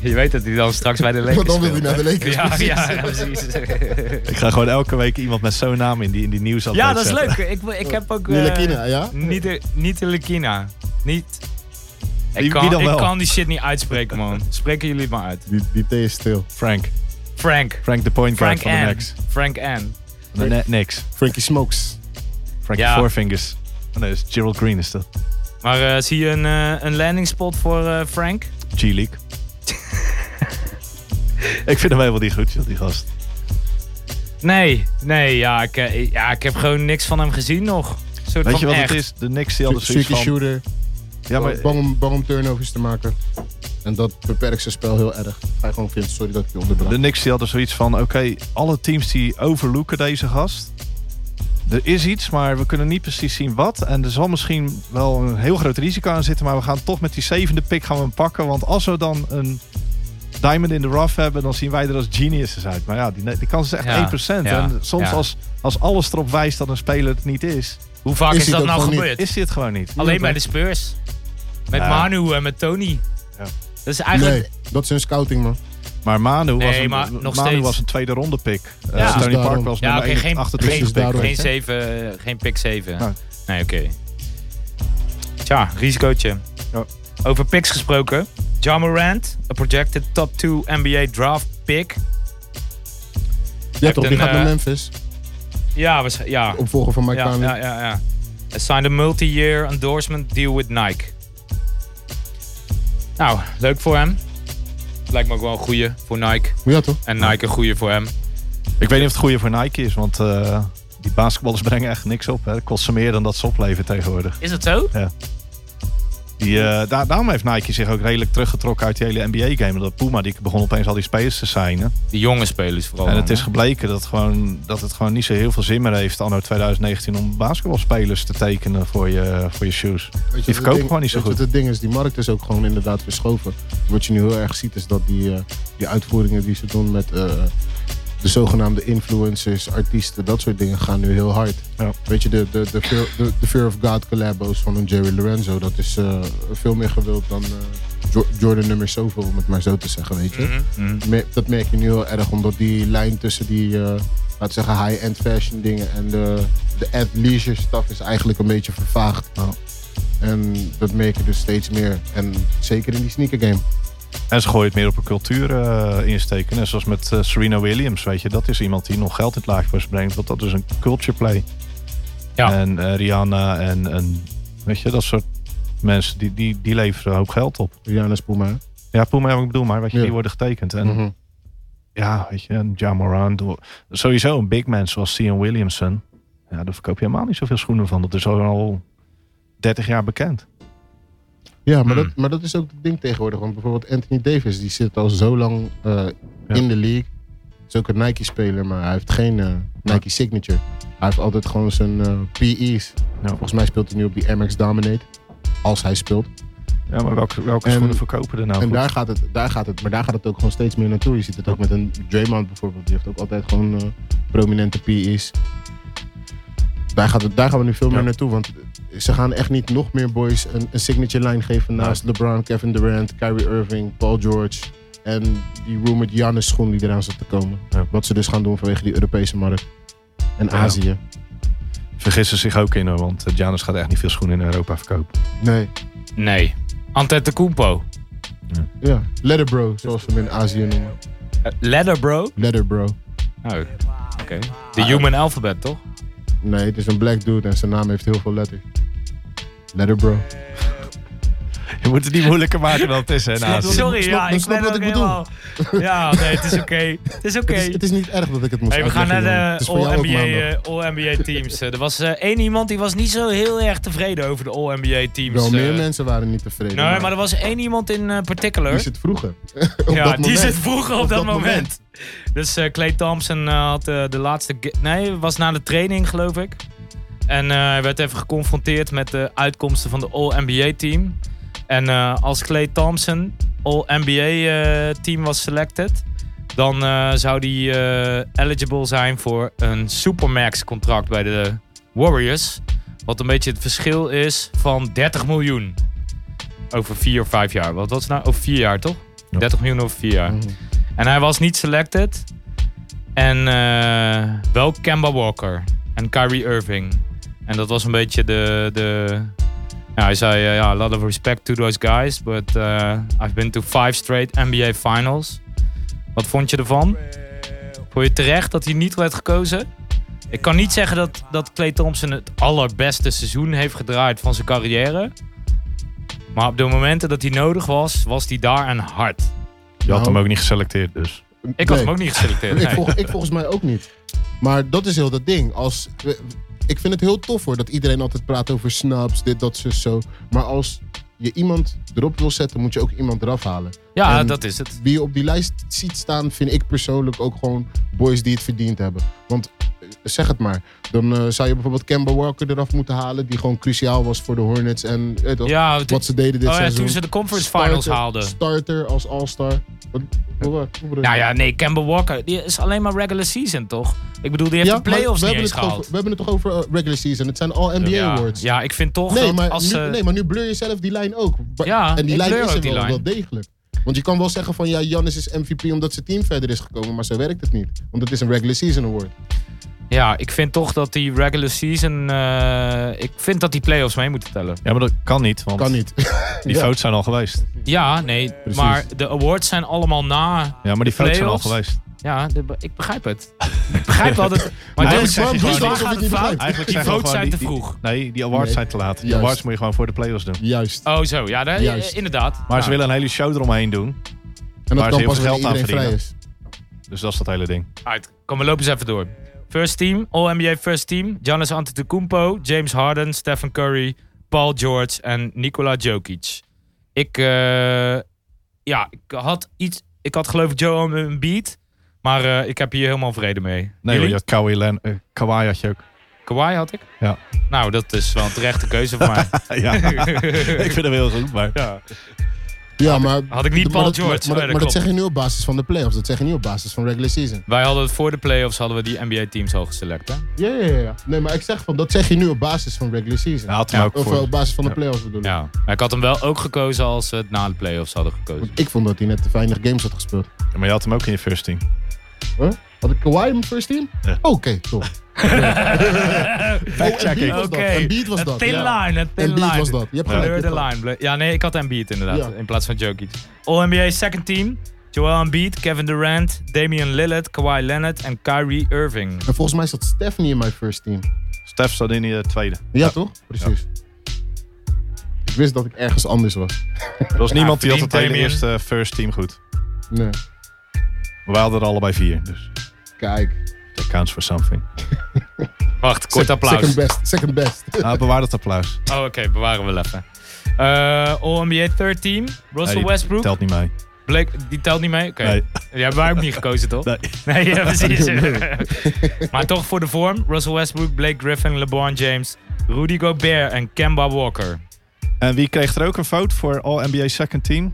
Je weet dat hij dan straks bij de Lakers
[laughs] Want dan wil hij
speelt,
naar de
hè?
Lakers,
Ja,
precies.
ja, ja, precies.
Ik ga gewoon elke week iemand met zo'n naam in die, in die nieuws
ja, dat is leuk. Ik, wil- ik heb ook... eh,
Nilekina, ja?
Niet- Nitilkina. Niet... Ik
Wie-
kan,
wie dan wel?
ik kan die shit niet uitspreken, man. Spreken jullie het maar uit.
Die, die thee is stil.
Frank.
Frank.
Frank de point guard
Frank
van de
N.
Knicks.
Frank N.
Van de net Knicks.
Frankie Smokes.
Frank
Ja.
de Four Fingers. Oh, nee, dat is Gerald Green is dat.
Maar eh, zie je een, eh, een landing spot voor eh, Frank? [laughs]
G-League. ik vind hem helemaal niet goed, joh, die gast.
Nee, nee, ja ik, eh, ja, ik heb gewoon niks van hem gezien nog. Een soort
Weet
van
je wat
echt.
het is? De Knicks die hadden zoiets
Tricky
van...
shooter.
Ja, maar
Bang om, bang om turnovers te maken. En dat beperkt zijn spel heel erg. Ga je gewoon vinden. Sorry dat ik je onderbrak.
de Knicks die hadden zoiets van... Oké, alle teams die overlooken deze gast... Er is iets, maar we kunnen niet precies zien wat. En er zal misschien wel een heel groot risico aan zitten. Maar we gaan toch met die zevende pick gaan we hem pakken. Want als we dan een diamond in the rough hebben... dan zien wij er als geniuses uit. Maar ja, die, die kans is echt
Ja,
1%.
ja,
en
ja.
soms als, als alles erop wijst dat een speler het niet is...
Hoe vaak
Is
is,
hij
dat
dat
nou
gewoon niet?
gebeurd?
is hij het gewoon niet.
Alleen bij de Spurs. Met
Ja.
Manu en met Tony.
Ja.
Dat is
Nee,
eigenlijk...
dat is hun scouting, man.
Maar Manu, was,
Nee,
een,
maar nog
Manu
steeds.
was een tweede ronde pick. Eh,
Ja.
Dus
Tony
daarom.
Park was
Ja,
nummer
oké,
1,
geen,
28
geen,
dus daarom.
geen, zeven, eh, geen pick 7.
Nou.
Nee, oké. Tja, risicootje.
Ja.
Over picks gesproken. Ja Morant, a projected top 2 NBA draft pick.
Ja, toch?
een,
Die gaat naar
eh,
Memphis.
Ja, waarsch- ja.
Opvolger van Mike
Ja,
Conley.
ja, ja, ja. Hij signed a multi-year endorsement deal with Nike. Nou, leuk voor hem. Het lijkt me ook wel een goeie voor Nike.
Ja, toch?
En Nike een goeie voor hem.
Ik weet niet of het goede voor Nike is, want eh, die basketballers [laughs] brengen echt niks op. Hè. Het kost ze meer dan dat ze opleveren tegenwoordig.
Is dat zo?
Die, eh, daar- daarom heeft Nike zich ook redelijk teruggetrokken uit die hele NBA-game. Omdat Puma die begon opeens al die spelers te signen.
Die jonge spelers
Oh,
vooral.
En
dan,
het is
hè?
gebleken dat, gewoon, dat het gewoon niet zo heel veel zin meer heeft anno 2019 om basketbalspelers te tekenen voor je, voor je shoes.
Weet
Die
wat het
verkopen
ding-
gewoon niet zo
weet je
goed.
wat Het ding is, die markt is ook gewoon inderdaad verschoven. Wat je nu heel erg ziet is dat die, eh, die uitvoeringen die ze doen met eh, de zogenaamde influencers, artiesten, dat soort dingen gaan nu heel hard.
Ja.
Weet je, de, de, de, Fear, de, de Fear of God collabos van een Jerry Lorenzo, dat is eh, veel meer gewild dan eh, Jo- Jordan nummer zoveel, om het maar zo te zeggen, weet je.
Mm.
Me- dat merk je nu heel erg, omdat die lijn tussen die, eh, laten we zeggen, high-end fashion dingen en de, de athleisure stuff is eigenlijk een beetje vervaagd. En dat merk je dus steeds meer. En zeker in die sneaker game.
En ze gooien het meer op een cultuur eh, insteken. Net zoals met eh, Serena Williams, weet je. Dat is iemand die nog geld in het laagpas brengt. Want dat is een culture play.
Ja.
En eh, Rihanna en, en weet je, dat soort mensen. Die, die, die leveren een hoop geld op.
Rihanna Spuma.
Ja, Puma, ja, ik bedoel maar, weet je,
Ja.
die worden getekend. En
Mhm.
ja, weet je, en Ja Morant. door- Sowieso een big man zoals Zion Williamson. Ja, daar verkoop je helemaal niet zoveel schoenen van. Dat is al 30 jaar bekend.
Ja, maar,
Hmm.
dat, maar dat is ook het ding tegenwoordig. Want bijvoorbeeld Anthony Davis, die zit al zo lang eh,
Ja.
in de league. Is ook een Nike-speler, maar hij heeft geen eh, Nike Signature. Hij heeft altijd gewoon zijn eh, PE's.
Ja.
Volgens mij speelt hij nu op die MX Dominate. Als hij speelt.
Ja, maar welke, welke
En-
schoenen verkopen er nou
en
goed?
daar gaat, het, daar gaat het, maar daar gaat het ook gewoon steeds meer naartoe. Je ziet het ook met een Draymond bijvoorbeeld. Die heeft ook altijd gewoon eh, prominente PE's. Daar, gaat het, daar gaan we nu veel meer
Ja.
naartoe. Want ze gaan echt niet nog meer boys een, een signature line geven naast LeBron, Kevin Durant, Kyrie Irving, Paul George. En die rumored Giannis schoen die eraan zit te komen.
Ja.
Wat ze dus gaan doen vanwege die Europese markt. En Azië.
Vergissen zich ook in, hoor, want eh, Giannis gaat echt niet veel schoenen in Europa verkopen. [laughs]
Nee.
Nee. Antetokounmpo.
Ja. Letter bro, zoals ze hem in Azië noemen.
Eh, Ladder bro.
Letter bro.
Oh. Oké. De
Ah.
human alphabet, toch?
Nee, het is een black dude en zijn naam heeft heel veel letters. Letter bro.
Je moet het niet moeilijker maken dan het
eh,
is, hè? Nazi.
Sorry,
nou, snap-
ja,
ik
ik
snap
ben
wat
het
ik
ook helemaal... Ja, nee, het is oké. Het is oké.
Het, is, het is niet erg dat ik het moest
Hey, we gaan
uitleggen,
naar
jongen. Het
de
is voor jou
All-NBA
ook maandag.
eh, All-NBA teams. Eh, er was eh, één iemand die was niet zo heel erg tevreden over de All-NBA teams.
Wel,
eh.
meer mensen waren niet tevreden.
Nee, maar er was één iemand in eh, particular.
die zit
[laughs]
vroeger. Op
ja,
dat
die
moment.
zit vroeger op,
Op
dat,
dat
moment.
moment.
Dus eh, Clay Thompson eh, had eh, de laatste... ge- Nee, was na de training, geloof ik. En eh, hij werd even geconfronteerd met de uitkomsten van de All-NBA-team. En eh, als Clay Thompson All-NBA-team eh, was selected... dan eh, zou hij eh, eligible zijn voor een Supermax-contract bij de Warriors. Wat een beetje het verschil is van 30 miljoen. Over vier of vijf jaar. Wat was het nou? Over vier jaar, toch?
Ja.
30 miljoen over vier jaar.
Mhm.
En hij was niet selected. En eh, wel Kemba Walker en Kyrie Irving. En dat was een beetje de... de ja, hij zei, eh, ja, a lot of respect to those guys. But eh, I've been to five straight NBA finals. Wat vond je ervan? Vond je terecht dat hij niet werd gekozen? Ik kan niet zeggen dat, dat Clay Thompson het allerbeste seizoen heeft gedraaid van zijn carrière. Maar op de momenten dat hij nodig was, was hij daar en hard.
Je had
Nou,
hem ook niet geselecteerd, dus.
Ik had
nee.
hem ook niet
[laughs]
geselecteerd.
Ik,
nee.
volg- ik volgens mij ook niet. Maar dat is heel dat ding. Als, ik vind het heel tof hoor, dat iedereen altijd praat over snaps, dit, dat, zus, zo. Maar als je iemand erop wil zetten, moet je ook iemand eraf halen.
Ja,
En-
dat is het.
wie je op die lijst ziet staan, vind ik persoonlijk ook gewoon boys die het verdiend hebben. Want eh, zeg het maar, dan eh, zou je bijvoorbeeld Kemba Walker eraf moeten halen, die gewoon cruciaal was voor de Hornets en weet je toch,
Ja, het-
wat ze deden dit
oh ja,
seizoen.
toen ze de conference finals
Starter-
haalden.
Starter als All-Star. Wat, wat, wat- wat-
Nou ja, nee, Kemba Walker die is alleen maar regular season, toch? Ik bedoel, die heeft
Ja,
de playoffs
maar
niet
we hebben
eens
het toch over-
gehaald.
We hebben het toch over eh, regular season. Het zijn all NBA
ja,
awards.
ja, ik vind toch
Nee
dat
maar,
als
nu,
ze-
nee, maar nu blur je zelf die lijn ook. Ba-
Ja,
en die
ik
lijn
blur
is
ook
er
die
wel,
lijn.
wel degelijk. Want je kan wel zeggen van ja, Jannis is MVP omdat zijn team verder is gekomen, maar zo werkt het niet. Want het is een regular season award.
Ja, ik vind toch dat die regular season... eh, ik vind dat die playoffs mee moeten tellen.
Ja, maar dat kan niet, want
Kan niet.
[laughs]
die
Ja.
votes zijn al geweest.
Ja, nee, maar de awards zijn allemaal na...
Ja, maar die votes zijn al
Playoffs?
geweest.
Ja, de- ik begrijp het. ik begrijp wel
[laughs]
dat... Maar
Eigenlijk
dit-
zeg je
dit-
gewoon
dit-
niet.
waar gaat het fout?
Eigenlijk
Die
zeggen we
votes
gewoon,
zijn te
die- die-
vroeg.
nee, die awards
Nee.
zijn te laat. Die
Juist.
awards moet je gewoon voor de playoffs doen.
Juist.
Oh, zo. Ja, daar,
Juist.
inderdaad.
Maar
Ja.
ze willen een hele show eromheen doen.
En dat
Waar ze
kan
heel
pas
veel
wanneer
geld aan
iedereen vrij
verdienen.
is.
Dus dat is dat hele ding.
Uit. Kom, we lopen eens even door. First team, All-NBA First Team. Giannis Antetokounmpo, James Harden, Stephen Curry, Paul George en Nikola Jokic. Ik, eh, ja, ik had iets... Ik had geloof ik Joe een beat, maar eh, ik heb hier helemaal vrede mee.
Nee, hoor,
Jullie?
je had Kawhi, Len, eh, Kawhi had je ook. [laughs]
Kawhi had ik?
Ja.
Nou, dat is wel een terechte keuze voor
[laughs]
mij.
ja, ik vind hem heel goed, maar...
Ja.
Ja, maar...
had ik niet
maar
Paul
dat-
George.
maar-
Oh, ja, dat
Maar, maar dat
klopt.
zeg je nu op basis van de playoffs. Dat zeg je niet op basis van regular season.
Wij hadden het voor de playoffs hadden we die NBA-teams al geselect. Hè?
Ja, ja, ja, ja. Nee, maar ik zeg van, dat zeg je nu op basis van regular season.
Ja, had hem ook
of eh,
voor.
op basis van de
Ja.
playoffs bedoel ik.
Ja. Maar ik had hem wel ook gekozen als ze het na de playoffs hadden gekozen.
Want ik vond dat hij net te weinig games had gespeeld.
Ja, maar je had hem ook in je first team.
Huh? Had ik Kawhi in mijn first team?
Ja.
Oké, toch.
Fact-checking.
was dat. Embiid was
een
dat,
Thin
ja.
line, een thin
Embiid
line.
was dat. Je hebt gelijk,
Blur
je hebt
the
gelijk.
line. Blur- Ja, nee, ik had Embiid inderdaad.
Ja.
In plaats van Jokic. All-NBA second team. Joel Embiid, Kevin Durant, Damian Lillard, Kawhi Leonard en Kyrie Irving.
En volgens mij zat Stephanie in mijn first team.
Stef staat in je tweede.
Ja, toch? Precies. Ik wist dat ik ergens anders was.
Er was niemand die had het hele
verdient
eerste eh, first team goed.
Nee.
We hadden er allebei vier, dus
Kijk.
that counts for [laughs] something.
Wacht, kort
Se-
applaus.
Second best. Second best. [laughs]
Ah, bewaar dat applaus.
Oh, oké, bewaren we wel even. Eh, All-NBA third team.
Nee,
Russell
die
Westbrook.
Telt niet mee.
Blake, die telt niet mee? Oké.
Nee.
Die hebben wij ook niet gekozen, toch?
Nee.
Nee, ja, precies.
[laughs]
[laughs] maar toch voor de vorm. Russell Westbrook, Blake Griffin, LeBron James, Rudy Gobert en Kemba Walker.
En wie kreeg er ook een vote voor All-NBA second team?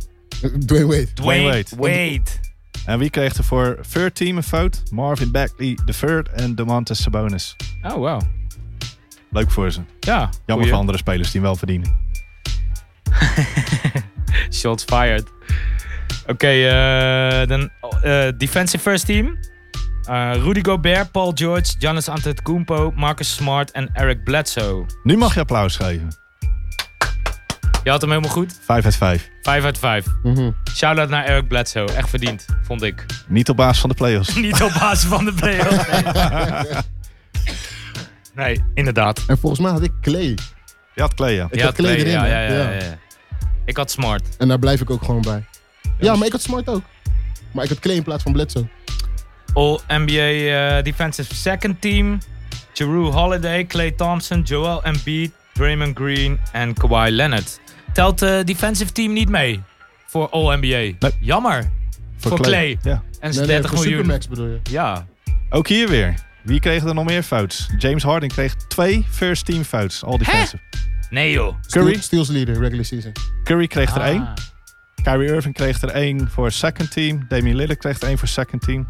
Dwayne Wade.
Dwayne
Wait,
Wade.
wait.
En wie kreeg er voor third team een vote? Marvin Bagley III en Domantas Sabonis.
Oh, wow.
Leuk voor ze.
Ja.
Jammer
goeie.
voor andere spelers die hem wel verdienen.
Shots fired. Oké, eh, dan eh, defensive first team. Eh, Rudy Gobert, Paul George, Giannis Antetokounmpo, Marcus Smart en Eric Bledsoe.
Nu mag je applaus geven.
Je had hem helemaal goed.
5 uit 5.
5 uit 5. Shout-out naar Eric Bledsoe. Echt verdiend, vond ik.
Niet op basis van de playoffs.
[laughs] Niet op basis van [laughs] de playoff. Nee. nee, inderdaad.
En volgens mij had ik Clay.
Je had Clay, ja.
Ik had Clay erin.
ja, ja,
hè?
ja, ja. Ik had smart.
En daar blijf ik ook gewoon bij. Ja, maar ik had Smart ook. Maar ik had Clay in plaats van Bledsoe.
All NBA eh, Defensive Second Team. Jeru Holiday, Clay Thompson, Joel Embiid, Draymond Green en Kawhi Leonard. Telt de defensive team niet mee voor All NBA. Jammer. Voor Clay.
Ja.
En is
Nee, nee,
30
voor
miljoen.
Supermax bedoel je.
Ja.
Ook hier weer. Wie kreeg er nog meer fouts? James Harden kreeg twee first team fouts. All defensive.
Nee joh.
Curry?
Steals- Steals leader, regular season.
Curry kreeg er één.
Ah.
Kyrie Irving kreeg er één voor second team. Damian Lillard kreeg er één voor second team.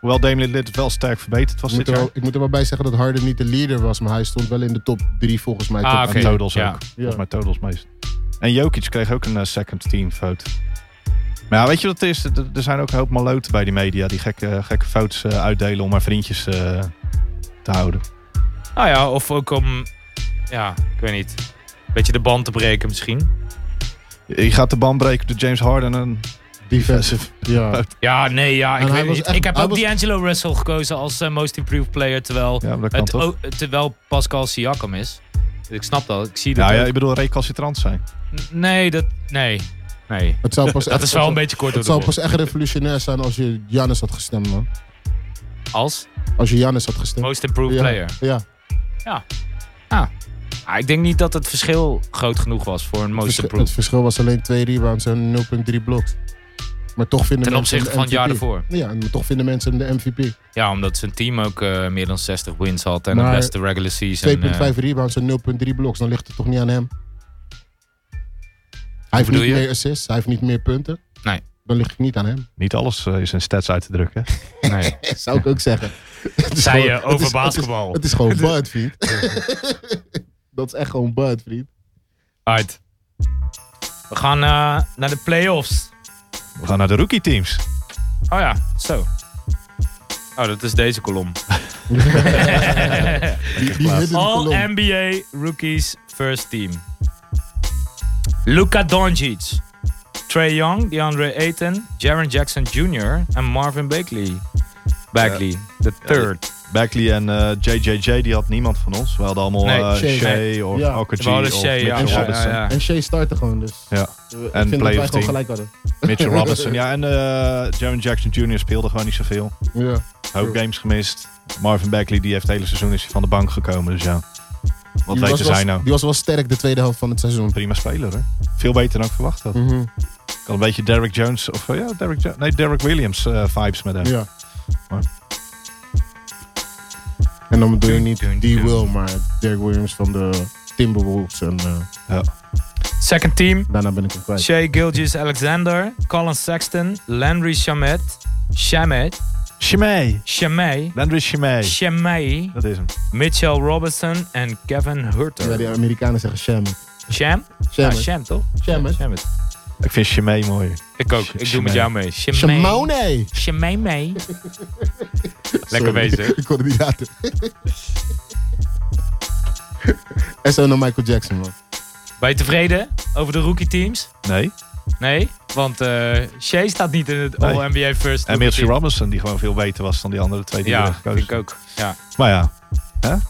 Hoewel Damian Lillard wel sterk verbeterd was
Ik moet,
dit
er wel,
jaar.
ik moet er wel bij zeggen dat Harden niet de leader was, maar hij stond wel in de top 3 volgens mij.
Ah,
Top
oké.
vier.
Totals
Ja.
ook. Volgens mij totals meest. En Jokic kreeg ook een eh, second team fout. Maar ja, weet je wat het is? Er- Er zijn ook een hoop maloten bij die media die gekke, gekke fouts eh, uitdelen om haar vriendjes eh, te houden.
Nou ja, of ook om... Ja, ik weet niet. Een beetje de band te breken misschien.
Je gaat de band breken door James Harden en
Defensive. Ja.
Ja, nee, ja. Ik,
En hij
weet
was
niet.
echt-
ik heb
hij
ook
was-
D'Angelo Russell gekozen als eh, Most Improved Player. Terwijl,
Ja, maar dat kan
het
toch?
ook- terwijl Pascal Siakam is. Ik snap dat. Ik zie dat.
Nou ja,
ook.
ik bedoel recalcitrant zijn.
N- Nee, dat... Nee. Nee.
Het zou
[laughs]
pas
Dat
echt-
is wel een beetje kort door
Het
de
zou
bocht.
pas echt revolutionair zijn als je Janis had gestemd, man.
Als
Als je Janis had gestemd.
Most Improved
ja.
Player.
Ja.
Ah, ik denk niet dat het verschil groot genoeg was voor een Most
Versch- het
Improved.
verschil was alleen 2 rebounds en 0,3 bloks. Maar toch vinden
Ten
mensen
opzichte
hem
van het
de MVP.
jaar daarvoor.
Ja, en toch vinden mensen hem de MVP.
Ja, omdat zijn team ook eh, meer dan 60 wins had. En
Maar
de beste regular season. eh,
2,5 rebounds en 0,3 bloks. Dan ligt het toch niet aan hem. Hij heeft niet
bedoel je?
meer assists, hij heeft niet meer punten.
Nee.
Dan ligt het niet aan hem.
Niet alles eh, is in stats uit te drukken. hè?
eh, nee.
[laughs] Zou ik ook zeggen. Het
[laughs]
is
Zei
gewoon-
je over
het is-
basketbal.
Het is, het is gewoon Bud, vriend. [laughs] Dat is echt gewoon Bud, vriend.
Alright. We gaan eh, naar de playoffs.
We gaan naar de rookie teams.
Oh ja, zo. Oh, dat is deze kolom.
Die, die hidden
All
kolom.
NBA Rookies First Team. Luka Doncic. Trey Young, DeAndre Ayton, Jaron Jackson Jr. en Marvin Bagley. Bagley, the third.
Bagley en eh, JJJ, die had niemand van ons. We hadden allemaal
Nee,
eh,
Shea.
Shea of
Ja.
Alka
We hadden
of
Shea, ja,
Mitchell
ja,
Robinson.
ja.
En Shea startte gewoon, dus
Ja.
eh, ik
En
vind dat
play
wij
of
gewoon
team.
gelijk hadden.
[laughs] Mitchell Robinson. Ja, en eh Jaron Jackson Jr. speelde gewoon niet zoveel.
Ja.
Hoop games gemist. Marvin Bagley, die heeft het hele seizoen is hij van de bank gekomen. Dus ja, wat
Die was
weten
wel-
zij nou?
Die was wel sterk de tweede helft van het seizoen.
Prima speler, hè? Veel beter dan ik verwacht had.
Mhm.
Ik had een beetje Derrick Jones, of eh, ja, Derrick, Jo- nee, Derrick Williams eh, vibes met hem.
Ja.
Maar-
En dan bedoel je
Dun,
niet
dun,
die
dun.
Will, maar Dirk Williams van de Timberwolves. En eh,
Ja.
Second team.
daarna ben ik hem kwijt.
Shea Gilgis Alexander, Colin Sexton, Landry Shamet, Shamet,
Chimay.
Shamay,
Landry Chimay.
Shamay,
Dat is hem.
Mitchell Robinson en Kevin
Ja,
Hurter.
die Amerikanen zeggen sham.
Sham? Ah, Ja,
Sham.
Sham toch?
Sham, hè?
Sham het.
Ik vind Chimay mooier.
Ik ook.
Sh-
Ik doe
Shamay.
met jou mee. Shamay.
Shimone!
Shamay mee.
Sorry,
Lekker bezig.
[laughs] ik kon het niet laten. En zo naar Michael Jackson, man.
Ben je tevreden over de rookie teams?
Nee.
Nee, want eh Shea staat niet in het
Nee.
All-NBA First.
En
rookie
Mitchell
team.
Robinson, die gewoon veel beter was dan die andere twee die
Ja,
werden
vind
gekozen.
ik ook. Ja.
Maar ja,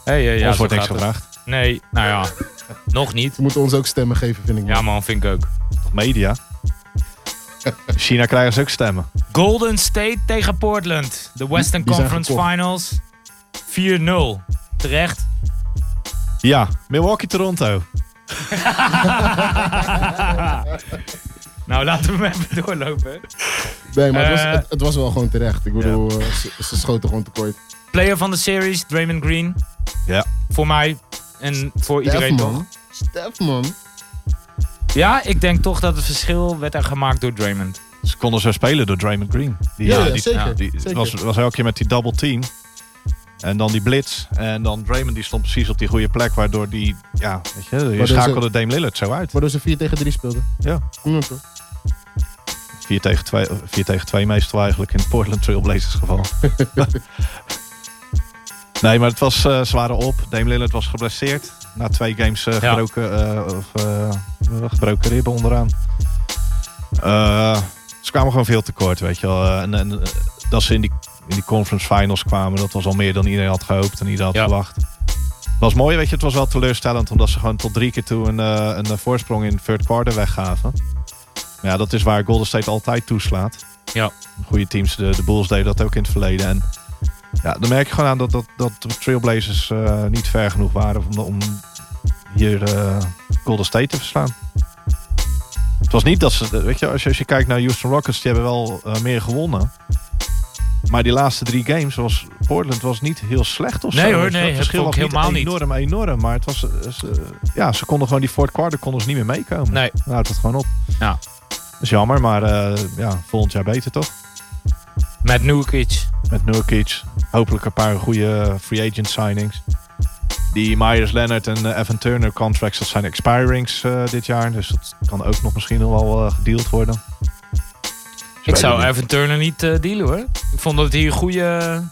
Hey, eh, ja,
ons
zo
wordt niks
gaat het.
gevraagd.
Nee, nou ja, nog niet.
Ze moeten ons ook stemmen geven, vind ik. man.
Ja man, vind ik ook.
[laughs]
Media. China krijgen ze ook stemmen.
Golden State tegen Portland. De Western
Die zijn
Conference
gekocht.
Finals. 4-0. Terecht.
Ja, Milwaukee-Toronto.
Nou, laten we hem [laughs] even doorlopen.
Nee, maar het,
Eh.
was, het, het was wel gewoon terecht. Ik bedoel, eh, ze, ze schoten gewoon tekort.
Player van de series, Draymond Green.
Ja.
Voor mij en voor
Stef,
iedereen toch?
man. Stef, man.
Ja, ik denk toch dat het verschil werd er gemaakt door Draymond.
Ze konden zo spelen door Draymond Green. Die,
Ja, ja,
die,
zeker,
die
zeker.
Was, was elke keer met die double team. En dan die blitz. En dan Draymond die stond precies op die goede plek. Waardoor die, ja, weet je, je
dus,
schakelde Dame Lillard zo uit.
Waardoor ze 4 tegen 3 speelden.
Ja.
Ja, toch?
4 tegen 2, vier tegen twee meestal eigenlijk in het Portland Trailblazers
[laughs]
geval. nee, maar het was, eh ze waren op. Dame Lillard was geblesseerd. Na twee games eh,
Ja.
gebroken, eh, of, eh, eh, gebroken ribben onderaan. Eh, ze kwamen gewoon veel tekort, weet je wel. Eh, en, en, eh, dat ze in die, in die conference finals kwamen, dat was al meer dan iedereen had gehoopt en iedereen had
Ja.
verwacht. Het was mooi, weet je. Het was wel teleurstellend omdat ze gewoon tot drie keer toe een, eh, een eh, voorsprong in third quarter weggaven. Ja, dat is waar Golden State altijd toeslaat.
Ja.
Goede teams, de, de Bulls deden dat ook in het verleden. En ja, dan merk je gewoon aan dat, dat, dat de Trailblazers eh, niet ver genoeg waren om, om hier eh, Golden State te verslaan. Het was niet dat ze, weet je, als je, als je kijkt naar Houston Rockets, die hebben wel eh, meer gewonnen. Maar die laatste drie games was Portland was niet heel slecht of
Nee
zo.
hoor,
weet je wel.
nee,
het
het
verschil
vond
was
ik helemaal niet.
enorm, enorm. Maar het was, eh, ze- ja, ze konden gewoon die fourth quarter konden ze niet meer meekomen.
Nee.
Dan houdt het gewoon op.
Ja.
Dat is jammer, maar eh, ja, volgend jaar beter toch?
Met Nurkic.
Met Nurkic. Hopelijk een paar goede free agent signings. Die Myers Leonard en eh, Evan Turner contracts, dat zijn expirings eh, dit jaar. Dus dat kan ook nog misschien nog wel eh, gedeeld worden. Dus
Ik
weet
zou
het niet.
Evan Turner niet eh, dealen hoor. Ik vond dat hij hier goede,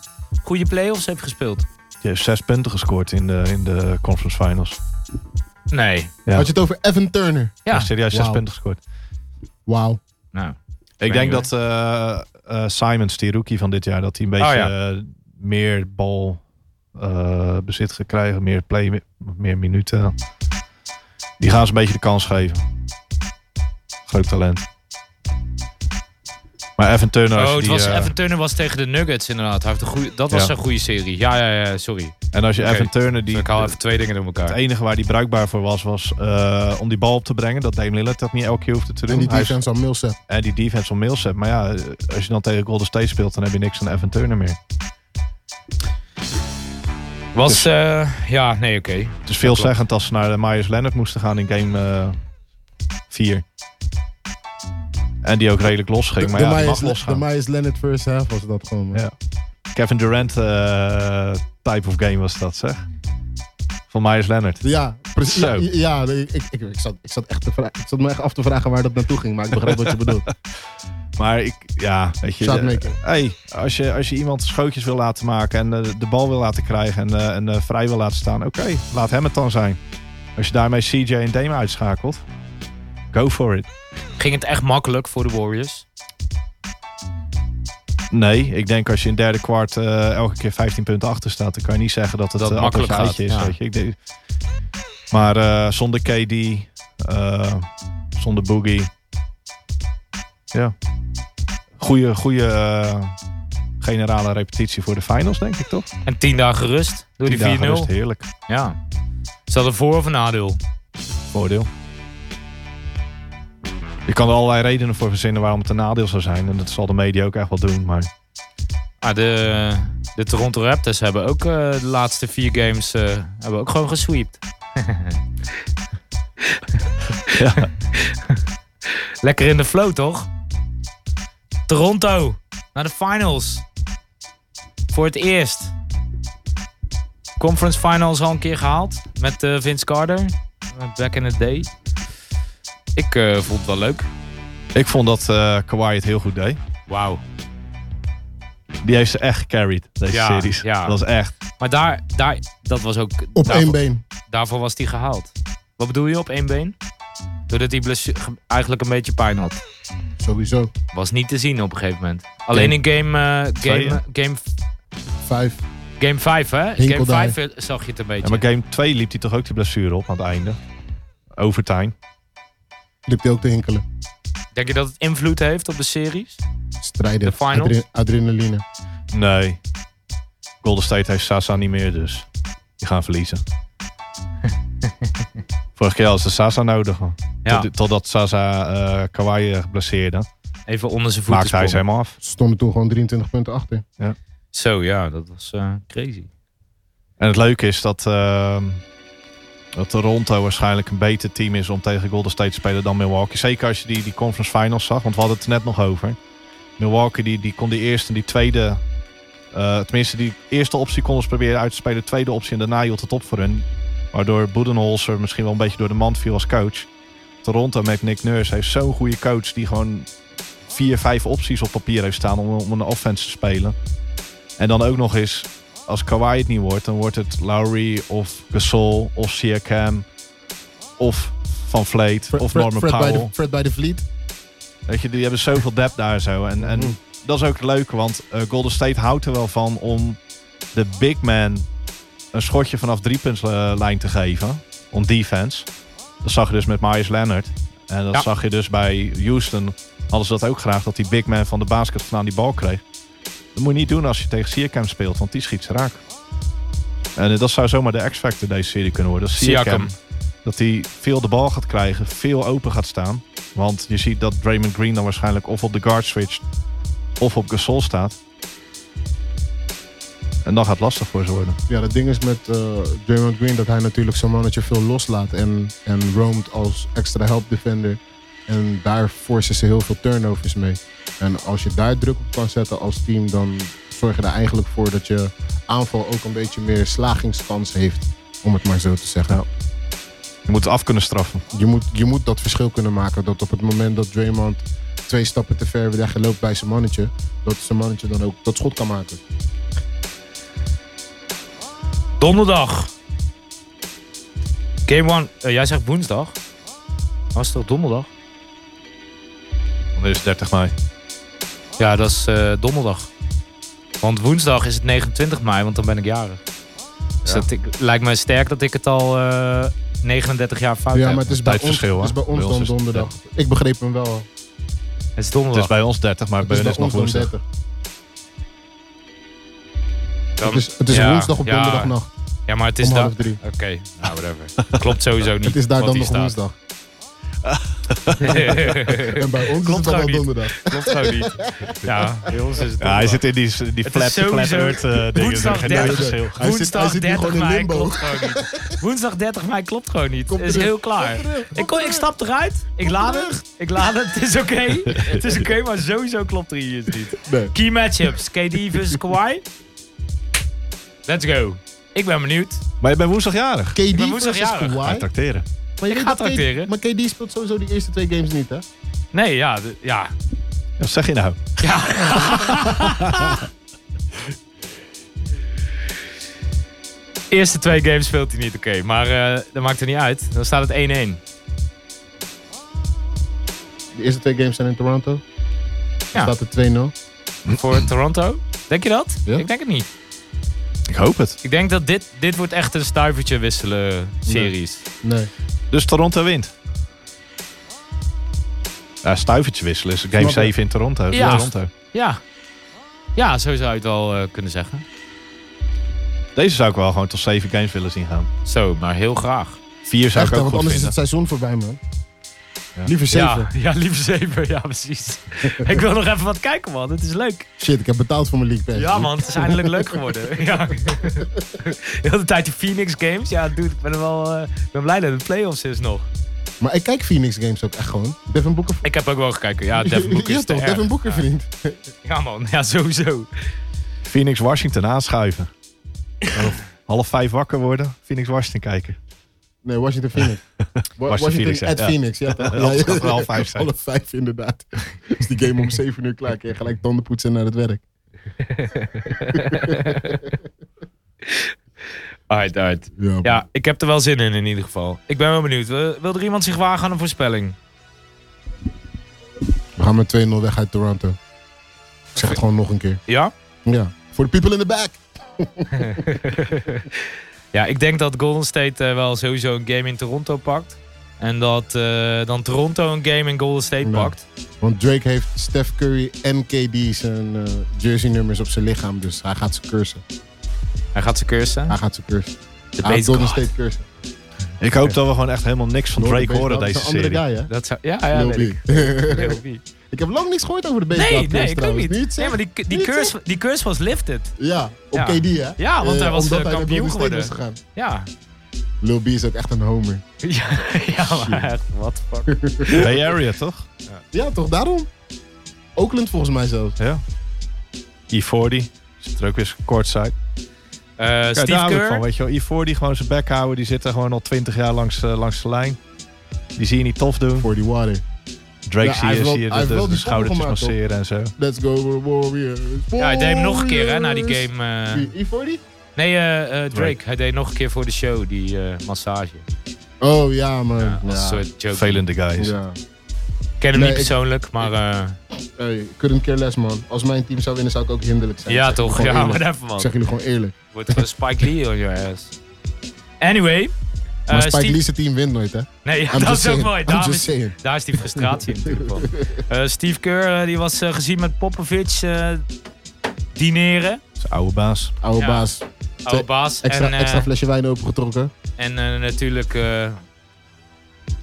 goede play-offs heeft gespeeld.
Je hebt zes punten gescoord in de, in de conference finals.
Nee.
Ja.
Had je het over Evan Turner?
Ja.
Ja, serieus zes
Wauw.
punten gescoord.
Wauw.
Nou.
Ik
weet
denk
niet,
dat eh, eh, Simons, die rookie van dit jaar, dat hij een beetje
Oh, ja.
eh, meer bal eh, bezit gaat krijgen. Meer play, meer minuten. Die gaan ze een beetje de kans geven. Groot talent. Maar Evan Turner, als
Oh,
je
het
die,
was,
eh,
Evan Turner was tegen de Nuggets inderdaad. Hij heeft een goeie, dat
Ja.
was een goede serie. Ja, ja, ja, sorry.
en als je
Oké. Dus
Evan Turner, die,
ik haal even twee dingen door
het
elkaar.
enige waar die bruikbaar voor was, was eh, om die bal op te brengen. Dat Dame Lillard dat niet elke keer hoefde te doen.
En die
Hij is-
defense aan Millsap.
en die defense van Millsap. Maar ja, eh, als je dan tegen Golden State speelt, dan heb je niks aan Evan Turner meer.
Was, eh, ja, nee, oké.
Het is veelzeggend Dus als ze naar eh, Myers Leonard moesten gaan in game eh, 4. en die ook redelijk los ging. Maar ja, die mag
De
losgaan.
Myers Leonard first half was dat gewoon, man.
Ja. Kevin Durant eh, type of game was dat, zeg. Van Myers Leonard.
Ja, precies.
Zo.
Ja, ja, ik, ik, ik, ik zat, ik, zat echt te vra- ik zat me echt af te vragen waar dat naartoe ging, maar ik begrijp wat je
[laughs]
bedoelt.
Maar ik, ja, weet je.
Shotmaker.
eh, hey, als je, als je iemand schootjes wil laten maken en eh, de bal wil laten krijgen en, eh, en eh, vrij wil laten staan, oké, laat hem het dan zijn. Als je daarmee CJ en Dame uitschakelt, go for it.
Ging het echt makkelijk voor de Warriors?
Nee, ik denk als je in het derde kwart eh, elke keer 15 punten achter staat, dan kan je niet zeggen dat het
Dat
eh,
het makkelijk
appeltje
gaat,
eitje is.
ja.
Weet je. Ik denk, maar eh, zonder KD, eh, zonder Boogie. Ja. Goede, goede generale repetitie voor de finals, denk ik toch?
En 10 dagen rust door
Tien
die 4-0.
dagen rust, heerlijk.
Ja. Is dat een voor- of een nadeel?
Voordeel. Je kan er allerlei redenen voor verzinnen waarom het een nadeel zou zijn. En dat zal de media ook echt wel doen. Maar
Ah, de, de Toronto Raptors hebben ook eh, de laatste vier games eh, hebben ook gewoon
[laughs]
gesweept. Lekker in de flow, toch? Toronto, naar de finals. Voor het eerst. Conference finals al een keer gehaald met eh, Vince Carter. eh, Back in the day. Ik eh, vond het wel leuk.
ik vond dat eh Kawhi het heel goed deed.
Wauw.
Die heeft ze echt gecarried, deze
Ja,
series.
ja.
Dat is echt.
Maar daar, daar, dat was ook...
Op
daarvoor-
één been.
Daarvoor was hij gehaald. Wat bedoel je op één been? Doordat hij blessu- ge- eigenlijk een beetje pijn had.
Sowieso.
Was niet te zien op een gegeven moment. Alleen in game, eh,
Twee,
game, game,
Vijf.
game 5, hè? Game
Hinkel daar.
5 eh, zag je het een
Ja,
beetje.
maar game 2 liep hij toch ook die blessure op aan het einde. Overtime.
Liep hij ook te hinkelen.
Denk je dat het invloed heeft op de series?
Strijden.
De finals?
Adre- adrenaline.
Nee. Golden State heeft Sasa niet meer, dus die
[laughs]
gaan verliezen. Vorige keer hadden ze Sasa nodig. man.
Ja,
Tot- Totdat Sasa eh Kawhi eh, blesseerde.
even onder zijn voeten
Maakte hij ze
sprongen.
helemaal af.
Ze stonden toen gewoon 23 punten achter.
Zo, ja, dat was eh, crazy.
En het leuke is dat, ehm, dat Toronto waarschijnlijk een beter team is om tegen Golden State te spelen dan Milwaukee. Zeker als je die, die conference finals zag, want we hadden het er net nog over. Milwaukee die, die kon die eerste en die tweede... eh, tenminste, die eerste optie konden ze proberen uit te spelen. De tweede optie en daarna hield het op voor hun. Waardoor Budenholzer misschien wel een beetje door de mand viel als coach. Toronto met Nick Nurse heeft zo'n goede coach die gewoon vier, vijf opties op papier heeft staan om, om een offense te spelen. En dan ook nog eens als Kawhi het niet wordt, dan wordt het Lowry of Gasol of Siakam of Van Vleet
Fred-
of
Fred-
Norman
Fred
Powell.
Bij de, Fred bij de Vliet.
Weet je, die hebben zoveel depth daar zo. En, en
Mm.
Mhm.
dat is ook leuk, want eh, Golden State houdt er wel van om de big man een schotje vanaf driepuntslijn te geven. Om defense. Dat zag je dus met Myers Leonard. En dat
Ja.
zag je dus bij Houston. Hadden ze dat ook graag, dat die big man van de basket vandaan die bal kreeg. Dat moet je niet doen als je tegen Siakam speelt, want die schiet ze raak. En eh, dat zou zomaar de X-factor deze serie kunnen worden. Dat Siakam,
Siakam.
Dat hij veel de bal gaat krijgen, veel open gaat staan. Want je ziet dat Draymond Green dan waarschijnlijk of op de guard switcht of op Gasol staat. En dan gaat het lastig voor ze worden.
Ja, dat ding is met eh Draymond Green dat hij natuurlijk zo'n mannetje veel loslaat en, en roamt als extra help defender. En daar forcen ze heel veel turnovers mee. En als je daar druk op kan zetten als team, dan zorg je er eigenlijk voor dat je aanval ook een beetje meer slagingskans heeft. Om het maar zo te zeggen.
Je moet het af kunnen straffen.
Je, moet, je moet dat verschil kunnen maken. Dat op het moment dat Draymond twee stappen te ver wegloopt bij zijn mannetje, dat zijn mannetje dan ook dat schot kan maken.
Donderdag. Game 1. jij zegt woensdag. Was het toch donderdag?
Dan is het 30 mei.
Ja, dat is eh, donderdag. Want woensdag is het 29 mei, want dan ben ik jarig. Dus dat ik, lijkt me sterk dat ik het al eh, 39 jaar fout
ja,
heb.
maar het is bij ons,
tijdverschil,
het is
hè?
bij ons
Bij ons
dan
is het
donderdag. Ik begreep hem wel.
Het is
Het
donderdag.
is bij ons 30, maar bij
Het
hun
is
is het
bij
nog
ons dan
woensdag.
30.
Dan-
Het is, het is
ja,
woensdag op
ja.
donderdagnacht
Ja, maar het is
om
daar...
half
Oké,
drie.
nou
[laughs]
whatever. Klopt sowieso niet
Het is daar
wat
dan
hier
nog
staat.
woensdag. En
[laughs]
[laughs]
Klopt
bij ons is
gewoon
het dan wel
niet.
donderdag.
gewoon niet. Ja, bij ons is het
Ja, hij
donderdag.
zit in die, die
Het
flat,
is sowieso-
flat earth eh, dingen.
Woensdag
Geen
30.
verschil.
Hij zit-
Woensdag
hij zit nu
30
gewoon in
mei
limbo.
klopt gewoon niet. [laughs] Woensdag 30 mei klopt gewoon niet.
Kom
Het is
terug.
heel klaar. ik, kon, ik stap eruit. Ik laat het. Ik laat het. Het is oké. [laughs] Het is oké, maar sowieso klopt er hier iets niet.
Nee.
Key matchups. KD versus Kawhi. Let's go. Ik ben benieuwd.
Maar je bent woensdag jarig.
KD
ben
versus
woensdagjarig.
Kawhi.
Ga je trakteren.
Maar je
Ik
weet
ga
dat KD
tracteren.
Maar KD speelt sowieso die eerste twee games niet, hè?
Nee, ja. d- ja.
Wat zeg je nou?
Eerste twee games speelt hij niet oké. maar eh, dat maakt er niet uit. Dan staat het 1-1.
De eerste twee games zijn in Toronto.
Ja.
Staat er 2-0.
voor Toronto. Denk je dat?
Ja.
Ik denk het niet.
Ik hoop het.
Ik denk dat dit, dit wordt echt een stuivertje wisselen series.
Nee.
Dus Toronto wint. Ja, stuivertje wisselen is game
Snap ik.
7 in Toronto.
Ja.
Toronto.
Ja. Ja, zo zou je het wel eh, kunnen zeggen.
Deze zou ik wel gewoon tot 7 games willen zien gaan.
Zo, maar heel graag.
4 zou
Echt,
ik
hè, want
ook goed
anders is
vinden.
het seizoen voorbij, man.
Ja.
Liever zeven.
Ja, [laughs] ja, liever zeven. Ja, [laughs] precies. ik wil nog even wat kijken, man. Het is leuk.
Shit, ik heb betaald voor mijn League Pass.
Ja, man. Het is eindelijk leuk geworden. [laughs] ja. Heel de tijd die Phoenix Games. Ja, dude, ik ben er wel eh, ik ben blij dat het playoffs is nog.
Maar ik kijk Phoenix Games ook echt gewoon. Devin Booker.
Ik heb ook wel gekeken. [laughs] Ja,
[laughs]
Devin Booker
ja,
is te
toch?
erg.
Devin Booker, vriend.
Ja, man. Ja, [laughs] sowieso.
Phoenix Washington
[laughs]
aanschuiven. Half vijf wakker worden, Phoenix Washington kijken.
Nee, Washington Phoenix. Wa- Washington
Phoenix,
at
ja.
Phoenix, ja. toch?
Ja, dat kan wel half
[laughs]
vijf zijn.
Alle vijf, inderdaad. Is die game om zeven uur klaar. Kun je gelijk tanden poetsen en naar het werk.
Alright, alright. Ja, ik heb er wel zin in in ieder geval. Ik ben wel benieuwd. Eh, Wil er iemand zich wagen aan een voorspelling?
We gaan met 2-0 weg uit Toronto. Ik zeg het gewoon nog een keer.
Ja?
Ja. For the people in the back.
Ja, ik denk dat Golden State eh, wel sowieso een game in Toronto pakt. En dat eh, dan Toronto een game in Golden State
Ja.
pakt.
Want Drake heeft Steph Curry en KD zijn eh, jersey nummers op zijn lichaam. Dus hij gaat ze cursen.
Hij gaat ze cursen.
Hij gaat ze cursen.
De
Hij gaat
base
Golden
guard.
State cursen.
Ik hoop dat we gewoon echt helemaal niks van
Door de
Drake
base
horen
guard.
deze
Dat is een
serie.
andere guy, hè?
Dat zou, ja, ja,
Lil
weet ik.
B. [laughs]
Lil B.
Ik heb lang niets gehoord over de base
Nee,
guard
nee,
curse
ik ook
trouwens.
niet.
Niet, zeg.
Nee, maar die, die,
Niet,
curse, die curse was lifted.
Ja, op
Ja.
KD, hè?
Ja, want
Eh,
hij was,
omdat
eh,
hij naar
kampioen
Golden State
geworden.
is gegaan.
Ja. [laughs]
Lil B is ook echt een homer.
Ja, ja maar echt, what the fuck.
Bay Area, toch?
Ja, toch? Daarom? Oakland volgens mij zelf.
Ja. E40. Zit er ook weer courtside.
Eh,
Kijk,
Steve
daar hou ik van,
Kerr.
weet je wel. E40 gewoon zijn bek houden. Die zit er gewoon al twintig jaar langs, eh, langs de lijn. Die zie je niet tof doen.
For the water.
Drake
Ja,
zie
hij
je,
heeft wel-
zie je
hij heeft
de,
wel
de, de
die
schoudertjes
schoppen
masseren en zo.
Let's go for the Warriors.
Ja, hij deed hem nog een keer hè, na die
Warriors.
game. eh.
Wie, E40?
nee, eh, eh, Drake.
Drake.
Hij deed nog een keer voor de show die eh, massage.
Oh ja, man.
Ja,
Ja,
was een soort joke.
Vervelende guys.
Ja.
Ik ken hem
Nee,
niet
ik-
persoonlijk, maar... eh,
Hey, couldn't care less, man. Als mijn team zou winnen, zou ik ook hinderlijk zijn. Ik
ja,
zeg jullie
toch.
gewoon
Ja,
eerlijk.
whatever,
Ik
man.
zeg jullie gewoon eerlijk.
Wordt gewoon Spike Lee on your ass. Anyway. eh,
Maar Spike
Steve-
Lee's team wint nooit, hè? I'm
Nee, ja, [laughs] dat is
just
ook
saying.
mooi.
I'm
Daar
just
is,
saying.
daar is die frustratie natuurlijk van. Eh, Steve Kerr eh, die was eh, gezien met Popovic eh, dineren.
Zijn oude baas.
Oude
Ja.
baas.
Oude baas.
Extra,
en eh,
extra flesje wijn opengetrokken.
en eh, natuurlijk eh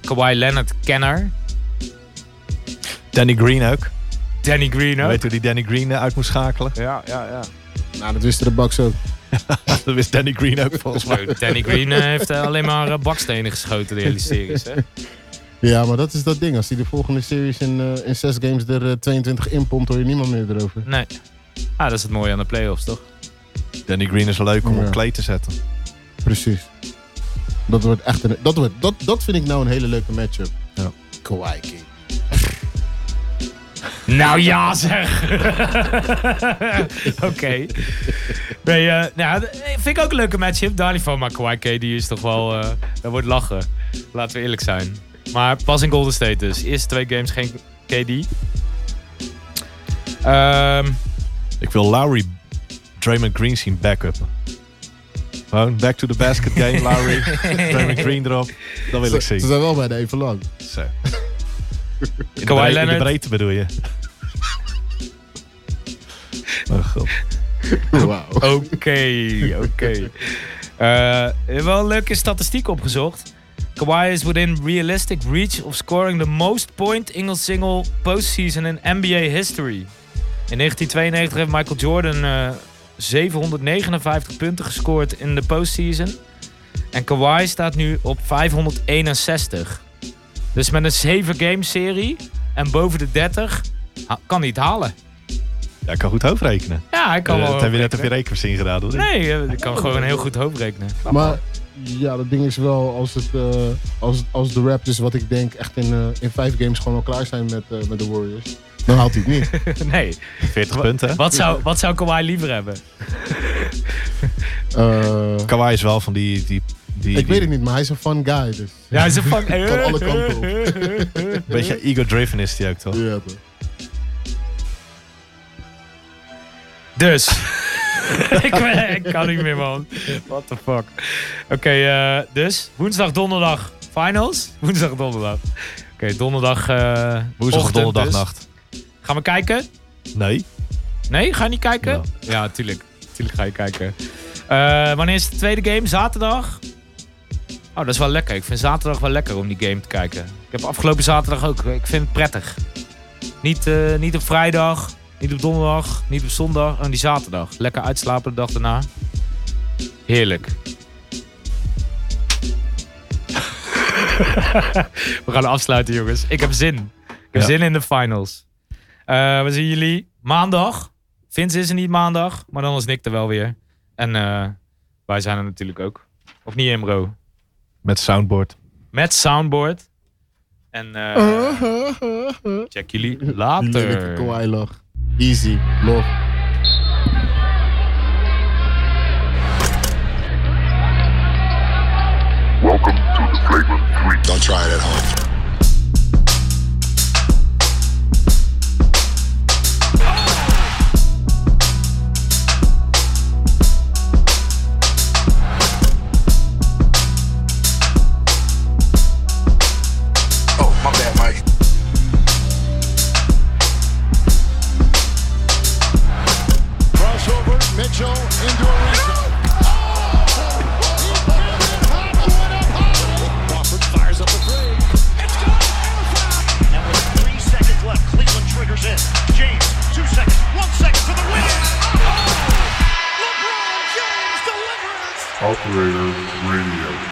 Kawhi Leonard kenner.
Danny Green ook.
Danny Green ook.
Weet hoe die Danny Green eh, uit moest schakelen?
Ja, ja, ja.
Nou, dat wisten de Bucks ook.
Dat wist Danny Green ook volgens mij.
Danny Green eh, heeft eh, alleen maar eh, bakstenen geschoten de hele series. Hè?
Ja, maar dat is dat ding. Als hij de volgende series in, eh, in zes games er eh, 22 in pompt, hoor je niemand meer erover.
Nee. Ah, dat is het mooie aan de playoffs, toch?
Danny Green is leuk om
Ja.
op kleed te zetten.
Precies. Dat wordt echt een, dat, wordt, dat, dat vind ik nou een hele leuke matchup.
Ja.
Kawhi King.
Nou ja, zeg. [laughs] Oké. Nee, eh, nou, d- eh, vind ik ook een leuke matchup. Dali van Makwai die is toch wel. eh, dat wordt lachen. Laten we eerlijk zijn. Maar pas in Golden State dus. Eerste twee games geen KD. Ehm,
Ik wil Lowry Draymond Green zien backuppen. Gewoon back to the basket game, Lowry. Draymond Green erop. Dat wil ik
Ze
zien.
zijn wel bijna even lang.
Zo. In de bre-
Kawhi
In de
Leonard.
breedte bedoel je? Oh god.
[laughs] Wauw.
Oké, oké. [laughs] Eh, wel een leuke statistiek opgezocht. Kawhi is within realistic reach of scoring the most point in a single postseason in NBA history. In 1992 heeft Michael Jordan eh, 759 punten gescoord in de postseason. En Kawhi staat nu op 561. Dus met een 7-game serie en boven de 30 ha- kan hij het halen.
Ja, ik kan goed hoofdrekenen.
Ja, hij kan
Eh,
wel.
dat heb je net op je rekenmachine gedaan, hoor.
[laughs] Nee, eh, ik kan gewoon heel goed hoofdrekenen.
Maar ja, dat ding is wel als, het, eh, als, als de Raptors, wat ik denk, echt in, eh, in vijf games gewoon al klaar zijn met, eh, met de Warriors. Dan haalt hij het niet.
Nee.
40 punten.
Wat zou, wat zou Kawhi liever hebben?
[laughs] Eh,
Kawhi is wel van die... die,
ik
die
weet
die-
het niet, maar hij is een fun guy. Dus.
Ja, hij is een [laughs] fucking...
Kan alle kanten op.
Een beetje ego-driven is die ook, toch?
Ja, toch.
[laughs] Dus. [laughs] ik, ben- ik kan niet meer, man. What the fuck. Oké, eh, dus woensdag, donderdag finals. Woensdag, donderdag. Oké, donderdag. eh
Woensdag,
ochtend
donderdag,
dus.
nacht.
Gaan we kijken?
Nee.
Nee, ga je niet kijken?
Ja.
Ja, tuurlijk. Tuurlijk ga je kijken. Eh, wanneer is de tweede game? Zaterdag? Oh, dat is wel lekker. Ik vind zaterdag wel lekker om die game te kijken. Ik heb afgelopen zaterdag ook. Ik vind het prettig. Niet, eh, niet op vrijdag, niet op donderdag, niet op zondag. En die zaterdag. Lekker uitslapen de dag daarna. Heerlijk. [laughs] We gaan afsluiten, jongens. Ik heb zin. Ik heb
Ja.
zin in de finals. Eh, we zien jullie maandag. Vince is er niet maandag, maar dan is Nick er wel weer. En eh, wij zijn er natuurlijk ook. Of niet, Imro?
Met soundboard.
Met Soundboard. En eh, check jullie
Die
later.
lelijke kawaii lach. Easy. Love.
Welcome to the Flagrant 3. Don't try it at home.
Oh, my bad, Mike.
Crossover, Mitchell into a
Crawford fires up a three. It's good. And a foul.
Now with three seconds left, Cleveland triggers in. James, two seconds, one second for the win. Oh! LeBron James delivers.
Operator Radio.